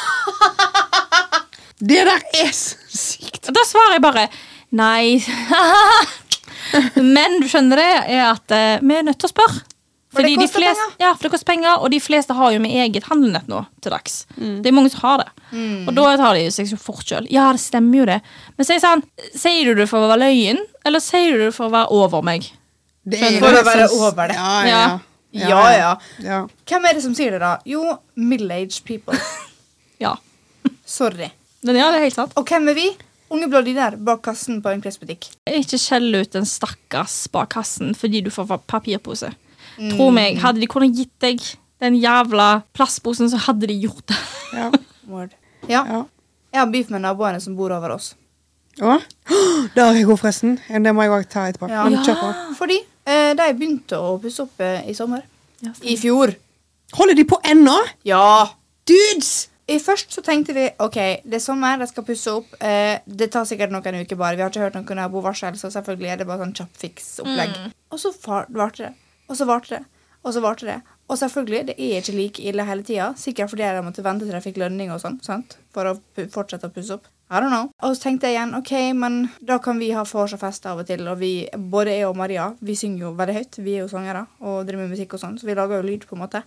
Speaker 3: Det der er så sykt!
Speaker 1: Da svarer jeg bare nei. Men du skjønner det, er at eh, vi er nødt til å spørre.
Speaker 2: For det
Speaker 1: de
Speaker 2: koster
Speaker 1: flest-
Speaker 2: penger.
Speaker 1: Ja, for det koster penger, og de fleste har jo med eget handlenett nå til dags.
Speaker 2: Mm.
Speaker 1: Det er mange som har det. Og da tar de seg så fort sjøl. Ja, det stemmer jo det. Men sier sånn, sier du det for å være løyen, eller sier du det for å være over meg?
Speaker 3: Det liksom
Speaker 2: Men for å være over det.
Speaker 3: Ja, ja.
Speaker 2: Ja, ja.
Speaker 3: ja.
Speaker 2: Hvem er det som sier det, da? Jo, middle-aged people.
Speaker 1: Ja.
Speaker 2: Sorry.
Speaker 1: Men ja, det er helt sant.
Speaker 2: Og hvem er vi? Unge blådyr bak kassen på en klesbutikk.
Speaker 1: Ikke skjell ut en stakkars bak kassen fordi du får fa- papirpose.
Speaker 2: Mm.
Speaker 1: Tro meg, hadde de kunnet gitt deg den jævla plastposen, så hadde de gjort det.
Speaker 3: ja.
Speaker 2: Word. Ja.
Speaker 3: ja.
Speaker 2: Jeg har beef med naboene som bor over oss.
Speaker 3: Å? Der er jeg god, forresten. Det må jeg òg ta etterpå.
Speaker 2: Ja.
Speaker 3: Men kjør på.
Speaker 2: Fordi eh, de begynte å pusse opp eh, i sommer.
Speaker 1: Ja,
Speaker 2: I fjor.
Speaker 3: Holder de på ennå?
Speaker 2: Ja.
Speaker 3: Dudes!
Speaker 2: I først så tenkte vi ok, det er sommer, de skal pusse opp. Eh, det tar sikkert noen uker bare. Vi har ikke hørt noen nabovarsel, så selvfølgelig er det bare sånn kjappfiks-opplegg. Og så far- varte det. Og så varte det. Og så varte det. Og selvfølgelig, det er ikke like ille hele tida. Sikkert fordi jeg måtte vente til jeg fikk lønning og sånn, sant? For å pu- fortsette å pusse opp. I don't know. Og så tenkte jeg igjen, ok, men da kan vi ha vors og fest av og til. Og vi, både jeg og Maria, vi synger jo veldig høyt. Vi er jo sangere og driver med musikk og sånn, så vi lager jo lyd, på en måte.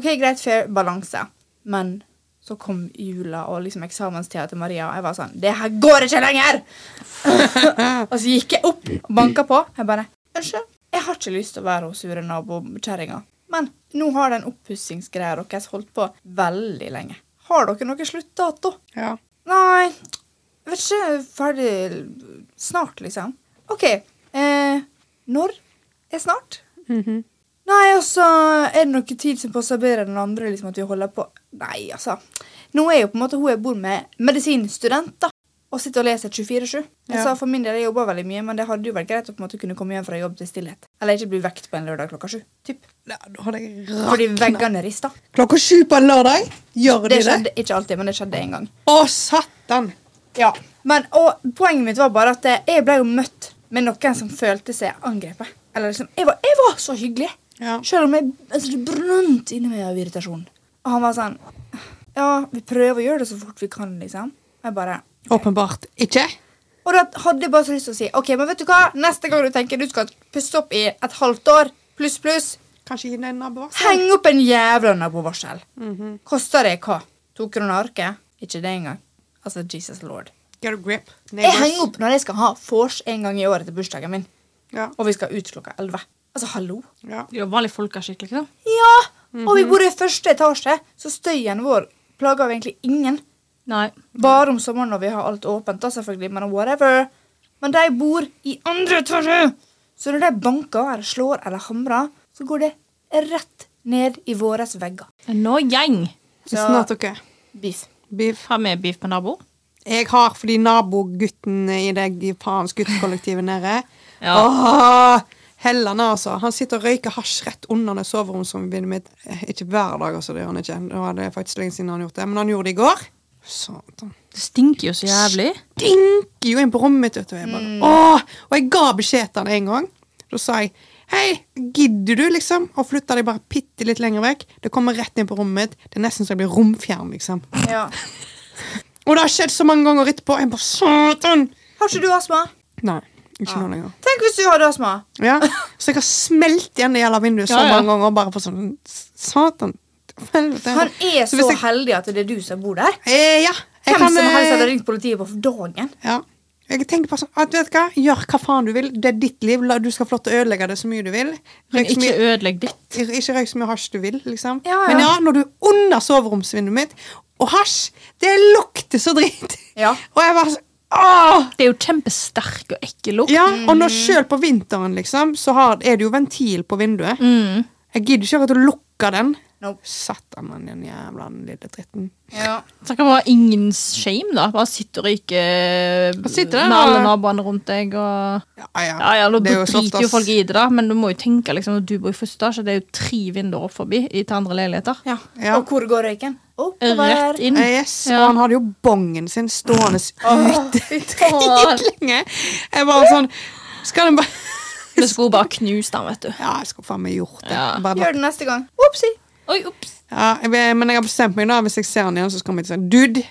Speaker 2: Ok, greit, fair balanse. Men så kom jula og liksom eksamenstida til Maria, og jeg var sånn Det her går ikke lenger! og så gikk jeg opp og banka på. Jeg bare Unnskyld, jeg har ikke lyst til å være hun sure nabokjerringa, men nå har den oppussingsgreia deres holdt på veldig lenge. Har dere noen sluttdato?
Speaker 3: Ja.
Speaker 2: Nei, jeg vet ikke. Ferdig snart, liksom. OK. Eh, når er snart?
Speaker 3: Mhm.
Speaker 2: Nei, altså, er det noe tid som passer bedre enn den andre? liksom at vi holder på? Nei, altså. Nå er jo på en måte hun jeg bor med, medisinstudent, da. Og sitter og leser 24-7. Jeg
Speaker 3: Ja.
Speaker 2: sa For min del, jeg jobber veldig mye, men det hadde jo vært greit å på en måte kunne komme hjem fra jobb til stillhet. Eller ikke bli vekt på en lørdag klokka sju. Typ.
Speaker 3: Da da hadde jeg
Speaker 2: Fordi
Speaker 3: rakna.
Speaker 2: veggene rister.
Speaker 3: Klokka sju på en lørdag? Gjør de
Speaker 2: Ah, Det
Speaker 3: det?
Speaker 2: skjedde ikke alltid, men det skjedde en gang.
Speaker 3: Å, satan!
Speaker 2: Ja, men, og Poenget mitt var bare at eh, jeg ble jo møtt med noen som følte seg angrepet. Eller liksom, jeg, var, jeg var så hyggelig,
Speaker 3: Ja.
Speaker 2: selv om jeg, altså, det brant inni meg av irritasjon. Og han var sånn Ja, vi prøver å gjøre det så fort vi kan, liksom. Jeg bare
Speaker 3: Åpenbart ikke.
Speaker 2: Og da hadde jeg bare så lyst til å si OK, men vet du hva? Neste gang du tenker du skal pusse opp i et halvt år, pluss, pluss,
Speaker 3: Kanskje gi den en nabovarsel?
Speaker 2: heng opp en jævla nabovarsel. Koster det hva? To kroner arket? Ikke det engang. Altså, Jesus lord.
Speaker 3: Get a grip.
Speaker 2: Jeg henger opp når jeg skal ha vors en gang i året til bursdagen min.
Speaker 3: Ja.
Speaker 2: Og vi skal ut klokka elleve. Altså, hallo?
Speaker 3: ja.
Speaker 1: Det er jo vanlig folkeskikk, liksom.
Speaker 2: Ja! Og
Speaker 3: Mhm.
Speaker 2: vi bor i første etasje, så støyen vår plager jo egentlig ingen.
Speaker 1: Nei.
Speaker 2: Bare om sommeren når vi har alt åpent, da selvfølgelig, men whatever. Men de bor i andre etasje! Så når de banker eller slår eller hamrer, så går det rett ned i våre vegger.
Speaker 1: Nå gjeng
Speaker 3: Så snart dere.
Speaker 2: Beef.
Speaker 3: Beef.
Speaker 1: har vi beef med naboer.
Speaker 3: Jeg har fordi nabogutten i det faens guttekollektivet nede
Speaker 1: Ja.
Speaker 3: Åh, Helland, altså. Han sitter og røyker hasj rett under det soveromsvinduet mitt. Eh, Ikke hver dag, altså. Det gjør han ikke. Nå er det faktisk lenge siden han har gjort det. Men han gjorde det i går. Satan.
Speaker 1: Det stinker jo så jævlig.
Speaker 3: Dinker jo inn på rommet mitt, vet du. og Jeg bare, åh, og jeg ga beskjed til han en gang. Da sa jeg Hei, gidder du, liksom? Og flytter de bare bitte litt lenger vekk. Det kommer rett inn på rommet mitt. Det er nesten så jeg blir romfjern, liksom.
Speaker 2: Ja.
Speaker 3: Og det har skjedd så mange ganger etterpå. Jeg bare, satan!
Speaker 2: Har ikke du astma?
Speaker 3: Nei, ikke
Speaker 2: Ah.
Speaker 3: nå lenger.
Speaker 2: Tenk hvis du hadde astma!
Speaker 3: Ja. Så jeg har smelt igjen det jævla vinduet så
Speaker 1: Ja, ja.
Speaker 3: mange ganger. Bare for sånn Satan. Helvete.
Speaker 2: Han er
Speaker 3: Så
Speaker 2: så,
Speaker 3: hvis jeg-
Speaker 2: heldig at det er du som bor der.
Speaker 3: eh, Ja. Jeg
Speaker 2: Hvem
Speaker 3: kan,
Speaker 2: som helst hadde
Speaker 3: eh,
Speaker 2: ringt politiet på dagen.
Speaker 3: ja. Jeg tenker bare sånn at, vet du hva? Gjør hva faen du vil. Det er ditt liv. La- Du skal få lov til å ødelegge det så mye du vil.
Speaker 1: Men
Speaker 3: Røyk så
Speaker 1: ikke
Speaker 3: mye,
Speaker 1: ødelegg ditt.
Speaker 3: ikke røyk så mye hasj du vil, liksom.
Speaker 2: Ja, ja.
Speaker 3: Men ja, når du er under soveromsvinduet mitt Og hasj! Det lukter så drit!
Speaker 2: Ja.
Speaker 3: Og jeg var sånn Åh!
Speaker 1: Det er jo kjempesterk og ekkel lukt.
Speaker 3: Ja, og nå sjøl på vinteren, liksom, så har, er det jo ventil på vinduet.
Speaker 1: Mm.
Speaker 3: Jeg gidder ikke at du lukker den.
Speaker 2: Nope.
Speaker 3: Satan, men den jævla lille dritten.
Speaker 2: Ja.
Speaker 1: Så det kan være ingen shame, da. Bare sitte og ryke
Speaker 3: sitter der,
Speaker 1: med alle
Speaker 3: da.
Speaker 1: naboene rundt deg. Og...
Speaker 3: Ja,
Speaker 1: Ja, ja, nå
Speaker 3: Det er jo soft,
Speaker 1: driter jo
Speaker 3: ass.
Speaker 1: folk i det, da, men du må jo tenke liksom, når du bor i første etasje, det er jo tre vinduer opp forbi i- til andre leiligheter.
Speaker 2: ja.
Speaker 3: Ja.
Speaker 2: Og hvor går røyken? Oppover.
Speaker 1: Rett inn.
Speaker 3: Eh, Yes,
Speaker 1: Ja.
Speaker 3: Og han hadde jo bongen sin stående
Speaker 2: Åh, fy faen.
Speaker 3: dritlenge. Jeg var sånn Skal den bare
Speaker 1: Vi skulle bare knust den, vet du.
Speaker 3: Ja, jeg skulle faen meg gjort det.
Speaker 1: Ja.
Speaker 3: Bare
Speaker 2: Gjør det neste gang. Opsi.
Speaker 1: Oi, ups.
Speaker 3: Ja, jeg, vet- men jeg har bestemt meg da Hvis jeg ser han igjen, så skal vi si Dude,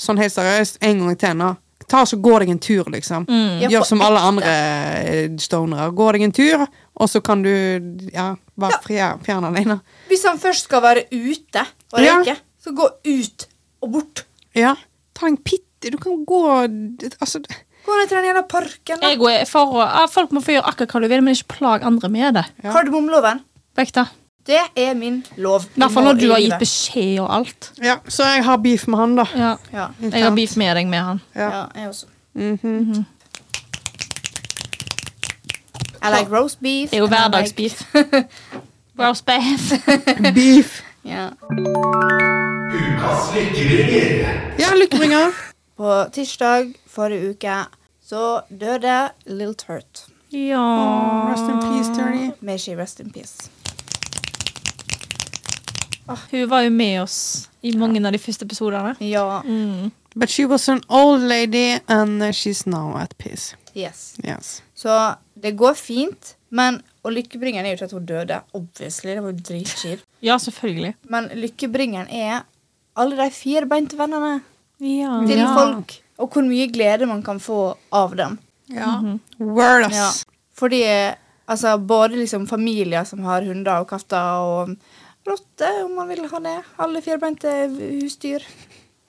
Speaker 3: sånn helt seriøst, en gang til nå Ta så gå deg en tur liksom
Speaker 2: Ja,
Speaker 3: Gjør
Speaker 2: på
Speaker 3: som alle andre eh, stonere Gå deg en tur, og så kan du Ja,
Speaker 2: Ja.
Speaker 3: være ja. fjern alene
Speaker 2: Hvis han først skal være ute og
Speaker 3: Ja.
Speaker 2: røyke, så gå ut og bort.
Speaker 3: Ja, ta en pitt Du kan gå altså,
Speaker 2: Gå ned til den jævla parken. da.
Speaker 1: Jeg er for, å- ja, folk må få gjøre akkurat hva du vil, men ikke plag andre med det.
Speaker 3: Ja.
Speaker 2: Kardemommeloven.
Speaker 1: Vekk det.
Speaker 2: Det er min lov.
Speaker 1: I hvert fall når
Speaker 2: Nå
Speaker 1: du har
Speaker 2: i
Speaker 1: gitt
Speaker 2: livet.
Speaker 1: beskjed og alt.
Speaker 3: Ja, så jeg har beef med han da
Speaker 1: Ja.
Speaker 2: Ja.
Speaker 1: Jeg har beef med deg med han.
Speaker 3: Ja.
Speaker 2: ja, jeg også.
Speaker 3: Mhm.
Speaker 2: I like roast beef.
Speaker 1: Det er jo
Speaker 2: and I like-
Speaker 1: hverdagsbeef. Roast beef.
Speaker 3: Beef
Speaker 2: Ja.
Speaker 4: Ukas lykkeringer.
Speaker 3: Ja, lykkebringer
Speaker 2: På tirsdag forrige uke så døde Lil Turt.
Speaker 1: Ja.
Speaker 3: Rest in peace, Tony
Speaker 2: May she rest in peace.
Speaker 1: Hun var jo med oss i mange av de første episodene.
Speaker 2: Ja.
Speaker 1: Mm.
Speaker 3: But she was an old lady And uh, she's now at peace
Speaker 2: Yes.
Speaker 3: Yes
Speaker 2: Så det går fint, men Og lykkebringeren er jo ikke at hun døde, obviously. Det var jo dritkjipt.
Speaker 1: Ja, selvfølgelig.
Speaker 2: Men lykkebringeren er alle de firbeinte vennene
Speaker 1: Ja.
Speaker 2: til
Speaker 3: Ja.
Speaker 2: folk. Og hvor mye glede man kan få av dem.
Speaker 3: Ja. Word, ass.
Speaker 2: Ja. Fordi altså, både liksom familier som har hunder og katter og rotter, om man vil ha det. Alle firbeinte husdyr.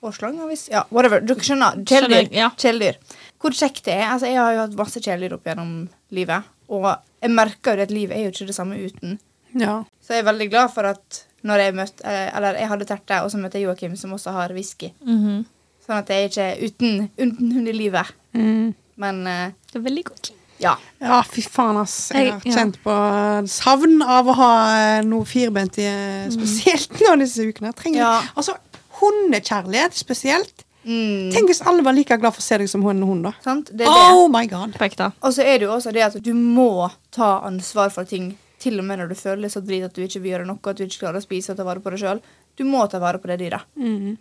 Speaker 2: Og slanger, hvis Ja, whatever. Dere skjønner. Kjæledyr.
Speaker 1: Skjønner, ja.
Speaker 2: Kjæledyr. Hvor kjekt det er. Altså, jeg har jo hatt masse kjæledyr opp gjennom livet, og jeg merker jo at livet er jo ikke det samme uten.
Speaker 3: Ja.
Speaker 2: Så jeg er veldig glad for at når jeg møtte eh, Eller jeg hadde Terte, og så møtte jeg Joakim, som også har whisky.
Speaker 1: Mhm.
Speaker 2: Sånn at jeg ikke er uten, uten hund i livet.
Speaker 3: Mm.
Speaker 2: Men eh,
Speaker 1: Det er veldig godt.
Speaker 2: ja.
Speaker 3: ja, fy faen, ass. Jeg har
Speaker 1: Jeg- ja.
Speaker 3: kjent på eh, savn av å ha eh, noe firbent i eh, Spesielt nå disse ukene. Jeg
Speaker 2: Mm.
Speaker 3: Trenger,
Speaker 2: Ja.
Speaker 3: Altså, Hundekjærlighet spesielt.
Speaker 2: Mm,
Speaker 3: Tenk hvis alle var like glad for å se deg som hunden hun, da.
Speaker 2: sant? Det er det.
Speaker 3: Oh my god.
Speaker 1: På ekte.
Speaker 2: Og så er det jo også det at du må ta ansvar for ting, til og med når du føler så drit at du ikke vil gjøre noe, at du ikke klarer å spise og ta vare på deg sjøl. Du må ta vare på det dyret.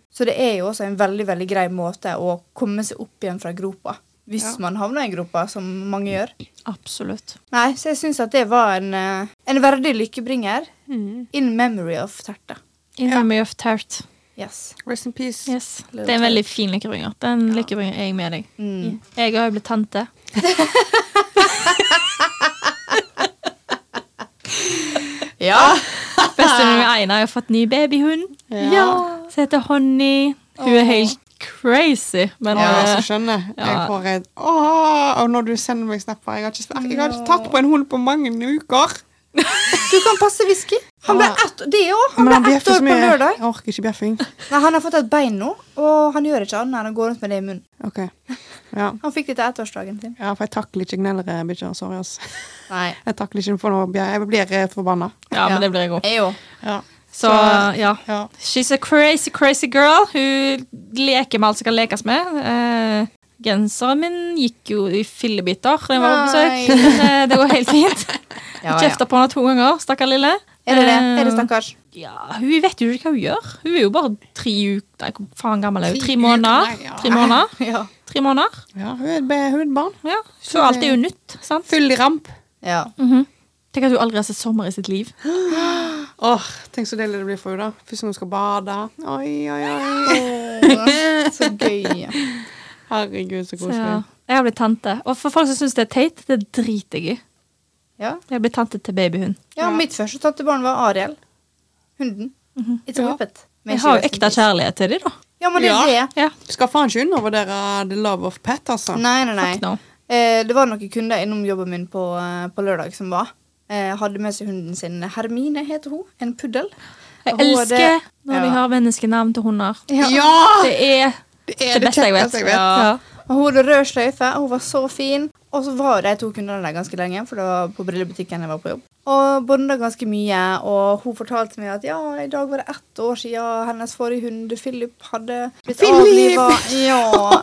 Speaker 2: Så det er jo også en veldig veldig grei måte å komme seg opp igjen fra gropa. Hvis man havner i en gropa, som mange gjør.
Speaker 1: Absolutt.
Speaker 2: Nei, Så jeg syns at det var en, eh, en verdig lykkebringer. In memory of Terte.
Speaker 1: Ja. Mye of tart.
Speaker 2: Yes.
Speaker 3: Rest in peace.
Speaker 1: Yes. Det er en veldig fin lykkebringer. Den lykkebringer er jeg med deg.
Speaker 2: Mm.
Speaker 1: Jeg har jo blitt tante.
Speaker 2: Ja.
Speaker 1: Bestevenninna mi Aina har jo fått ny babyhund.
Speaker 3: Ja.
Speaker 1: Som heter Honey. Hun er helt crazy, men
Speaker 3: Ja,
Speaker 1: eh,
Speaker 3: altså, skjønner. Jeg
Speaker 1: Ja.
Speaker 3: får et Åh, og når du sender meg snapper Jeg har ikke, jeg har ikke tatt på en hund på mange uker.
Speaker 2: Du kan passe whisky. Han ble ett, det òg. Han
Speaker 3: Men
Speaker 2: ble
Speaker 3: han
Speaker 2: ett
Speaker 3: bjeffer
Speaker 2: år
Speaker 3: så
Speaker 2: på
Speaker 3: mye.
Speaker 2: lørdag.
Speaker 3: Jeg orker ikke bjeffing.
Speaker 2: Nei, Han har fått et bein nå, og han gjør ikke annet enn å gå rundt med det i munnen.
Speaker 3: Ok. Ja.
Speaker 2: Han fikk det til ettårsdagen sin.
Speaker 3: ja, for jeg takler ikke gnellere bikkjer. Sorry, ass.
Speaker 2: Nei.
Speaker 3: Jeg takler ikke for noe bjer- Jeg blir eh, forbanna.
Speaker 1: ja,
Speaker 2: Ja.
Speaker 1: men det blir jeg òg.
Speaker 2: Jeg òg.
Speaker 3: Ja.
Speaker 1: Så
Speaker 3: Så-
Speaker 1: ja.
Speaker 3: Ja.
Speaker 1: She's a crazy, crazy girl. Hun leker med alt som kan lekes med. Eh, genseren min gikk jo i fillebiter da jeg var på besøk.
Speaker 2: Nei.
Speaker 1: Men, eh, det går helt fint. Kjefta på henne to ganger, stakkar lille.
Speaker 2: Er det det? Er det
Speaker 1: Eh,
Speaker 2: stakkars?
Speaker 1: Ja, Hun vet jo ikke hva hun gjør. Hun er jo bare tre uker Nei, hvor faen gammel er hun?
Speaker 3: Tre
Speaker 1: Tre
Speaker 3: uker,
Speaker 1: måneder.
Speaker 3: nei, ja.
Speaker 1: Tre måneder.
Speaker 2: Ja.
Speaker 1: Tre måneder.
Speaker 3: ja, hun er et be- hun er et barn.
Speaker 1: Ja. Så alt er jo nytt. sant?
Speaker 3: Full i ramp.
Speaker 2: ja.
Speaker 1: Tenk at hun aldri har sett sommer i sitt liv.
Speaker 3: Åh, Tenk så deilig det blir for henne. da. Først når hun skal bade. Oi, oi, oi.
Speaker 2: Så gøy.
Speaker 3: Herregud, så
Speaker 1: Så,
Speaker 3: koselig.
Speaker 1: ja. Jeg har blitt tante. Og for folk som syns det er teit, det driter jeg i.
Speaker 2: Ja.
Speaker 1: Jeg har blitt tante til babyhund.
Speaker 2: ja, mitt første tattebarn var Ariel. Hunden. It's a
Speaker 3: Ja.
Speaker 2: whippet. Men
Speaker 1: Jeg har jo
Speaker 2: ikke
Speaker 1: ekte
Speaker 2: rest in peace.
Speaker 1: kjærlighet til dem, da.
Speaker 2: Ja, men det er
Speaker 3: Ja.
Speaker 2: det.
Speaker 1: Ja.
Speaker 3: Skal faen ikke undervurdere eh, the love of pet, altså.
Speaker 2: Nei, nei, nei.
Speaker 1: Fuck no.
Speaker 2: Eh, det var noen kunder innom jobben min på, eh, på lørdag som var. Eh, hadde med seg hunden sin. Hermine heter hun. En puddel.
Speaker 1: Jeg
Speaker 2: Hun er det-
Speaker 1: elsker når de
Speaker 2: Ja.
Speaker 1: har menneskenavn til hunder.
Speaker 2: Ja.
Speaker 1: Det er
Speaker 3: Det
Speaker 1: det beste jeg vet.
Speaker 3: kjekkeste
Speaker 1: Ja.
Speaker 2: Og hun hadde rød sløyfe, og hun var så fin. Og så var jo de to kundene der ganske lenge, for det var på brillebutikken jeg var på jobb. Og bonda ganske mye, og hun fortalte meg at ja, i dag var det ett år siden hennes forrige hund, Philip, hadde blitt
Speaker 3: Philip!
Speaker 2: avliva. Ja.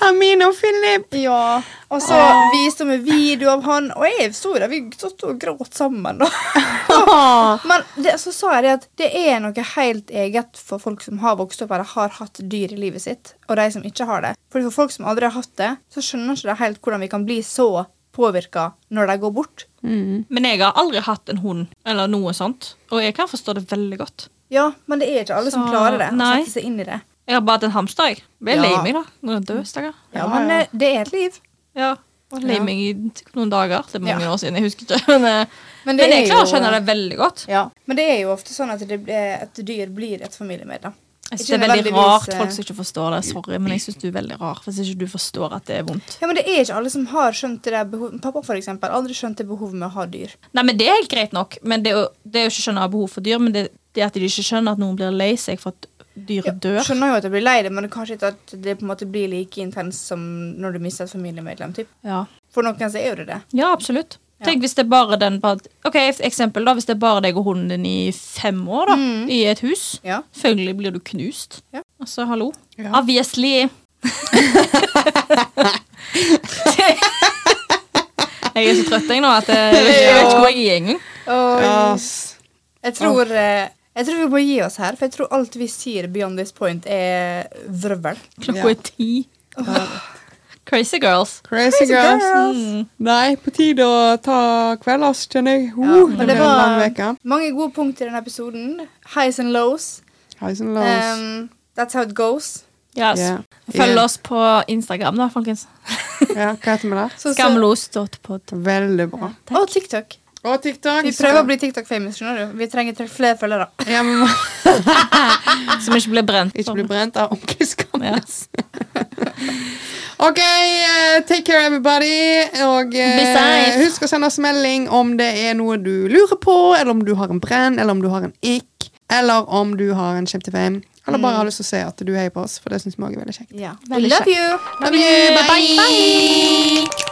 Speaker 3: Hermine og Philip.
Speaker 2: Ja, og så viste hun meg video av han, og jeg sto der, vi stod og gråt sammen. Da. Men det, så sa jeg det at det er noe helt eget for folk som har vokst opp eller har hatt dyr i livet sitt, og de som ikke har det. Fordi for folk som aldri har hatt det, så skjønner ikke de helt hvordan vi kan bli så påvirka når de går bort.
Speaker 1: Men jeg har aldri hatt en hund eller noe sånt, og jeg kan forstå det veldig godt.
Speaker 2: Ja, men det er ikke alle som
Speaker 1: Så,
Speaker 2: klarer det. Å
Speaker 1: nei.
Speaker 2: sette seg inn i det.
Speaker 1: Jeg har bare hatt en hamster. jeg. Jeg er
Speaker 3: Ja.
Speaker 1: lei meg, da. Når jeg dør, stakkar.
Speaker 2: Ja, men eh, det er et liv.
Speaker 1: Ja. Og lei
Speaker 3: Ja.
Speaker 1: meg i noen dager. Det er mange
Speaker 2: Ja.
Speaker 1: år siden. jeg husker ikke. Men, eh,
Speaker 2: Men det
Speaker 1: men jeg
Speaker 2: er
Speaker 1: klarer å
Speaker 2: jo-
Speaker 1: skjønne det veldig godt.
Speaker 2: Ja, Men det er jo ofte sånn at, det blir, at dyr blir et familiemedlem.
Speaker 1: Jeg synes det
Speaker 2: Ikke
Speaker 1: er veldig
Speaker 2: nødvendigvis,
Speaker 1: rart
Speaker 2: eh,
Speaker 1: folk som ikke forstår det. Sorry, men jeg synes du er veldig rar hvis ikke du forstår at det er vondt.
Speaker 2: Ja, men Det er ikke alle som har skjønt det der behovet. Pappa for eksempel, aldri skjønt det behovet med å ha dyr.
Speaker 1: Nei, men Det er helt greit nok. Men Det er jo, det er jo ikke skjønne å ha behov for dyr, men det, det at de ikke skjønner at noen blir lei seg for at dyret dør
Speaker 2: Skjønner jo at jeg blir lei det, men kanskje ikke at det på en måte blir like intenst som når du mister et familiemedlem. Typ.
Speaker 1: Ja,
Speaker 2: For noen så er jo det det.
Speaker 1: ja absolutt. Tenk hvis det er bare den bare, Ok, et eksempel da, Hvis det er bare deg og hunden din i fem år da, i et hus,
Speaker 2: Mm. Ja.
Speaker 1: selvfølgelig blir du knust.
Speaker 2: Ja.
Speaker 1: Altså, hallo.
Speaker 3: Ja.
Speaker 1: Obviously. jeg er så trøtt jeg nå at jeg, jeg vet ikke hvor jeg er engang.
Speaker 3: Yes.
Speaker 2: Jeg tror, eh, jeg tror vi må gi oss her, for jeg tror alt vi sier beyond this point, er vrøvl.
Speaker 1: Klokka er ti. Crazy girls.
Speaker 3: Crazy girls. Mm. Nei, på tide å ta kvelders, kjenner jeg. Uh,
Speaker 2: men det
Speaker 3: det blir en lang
Speaker 2: var-
Speaker 3: uke.
Speaker 2: Mange gode punkt i denne episoden. Highs and lows.
Speaker 3: Highs and lows.
Speaker 2: Um, that's how it goes.
Speaker 1: Yes.
Speaker 3: Yeah.
Speaker 1: Følg
Speaker 3: Yeah.
Speaker 1: oss på Instagram, da, folkens.
Speaker 3: Ja, hva heter vi der?
Speaker 2: Så- så-
Speaker 1: Skamlos.pod.
Speaker 3: Veldig bra.
Speaker 2: Og TikTok.
Speaker 3: Og TikTok.
Speaker 2: Vi prøver å bli TikTok-famous, skjønner du. Vi trenger tre- flere følgere.
Speaker 3: Ja, men må
Speaker 1: Som ikke blir brent.
Speaker 3: ikke bli brent av ordentlig
Speaker 1: Sånn. Ja.
Speaker 3: skammes. OK, eh, take care everybody. Og eh,
Speaker 1: Be safe.
Speaker 3: husk å sende oss melding om det er noe du lurer på, eller om du har en brenn, eller om du har en ick, eller om du har en kjempe fame. Eller bare har lyst til å se at du heier på oss, for det syns vi også er veldig kjekt.
Speaker 2: Ja.
Speaker 1: Veldig
Speaker 2: Love you!
Speaker 3: Love you, bye.
Speaker 1: Bye.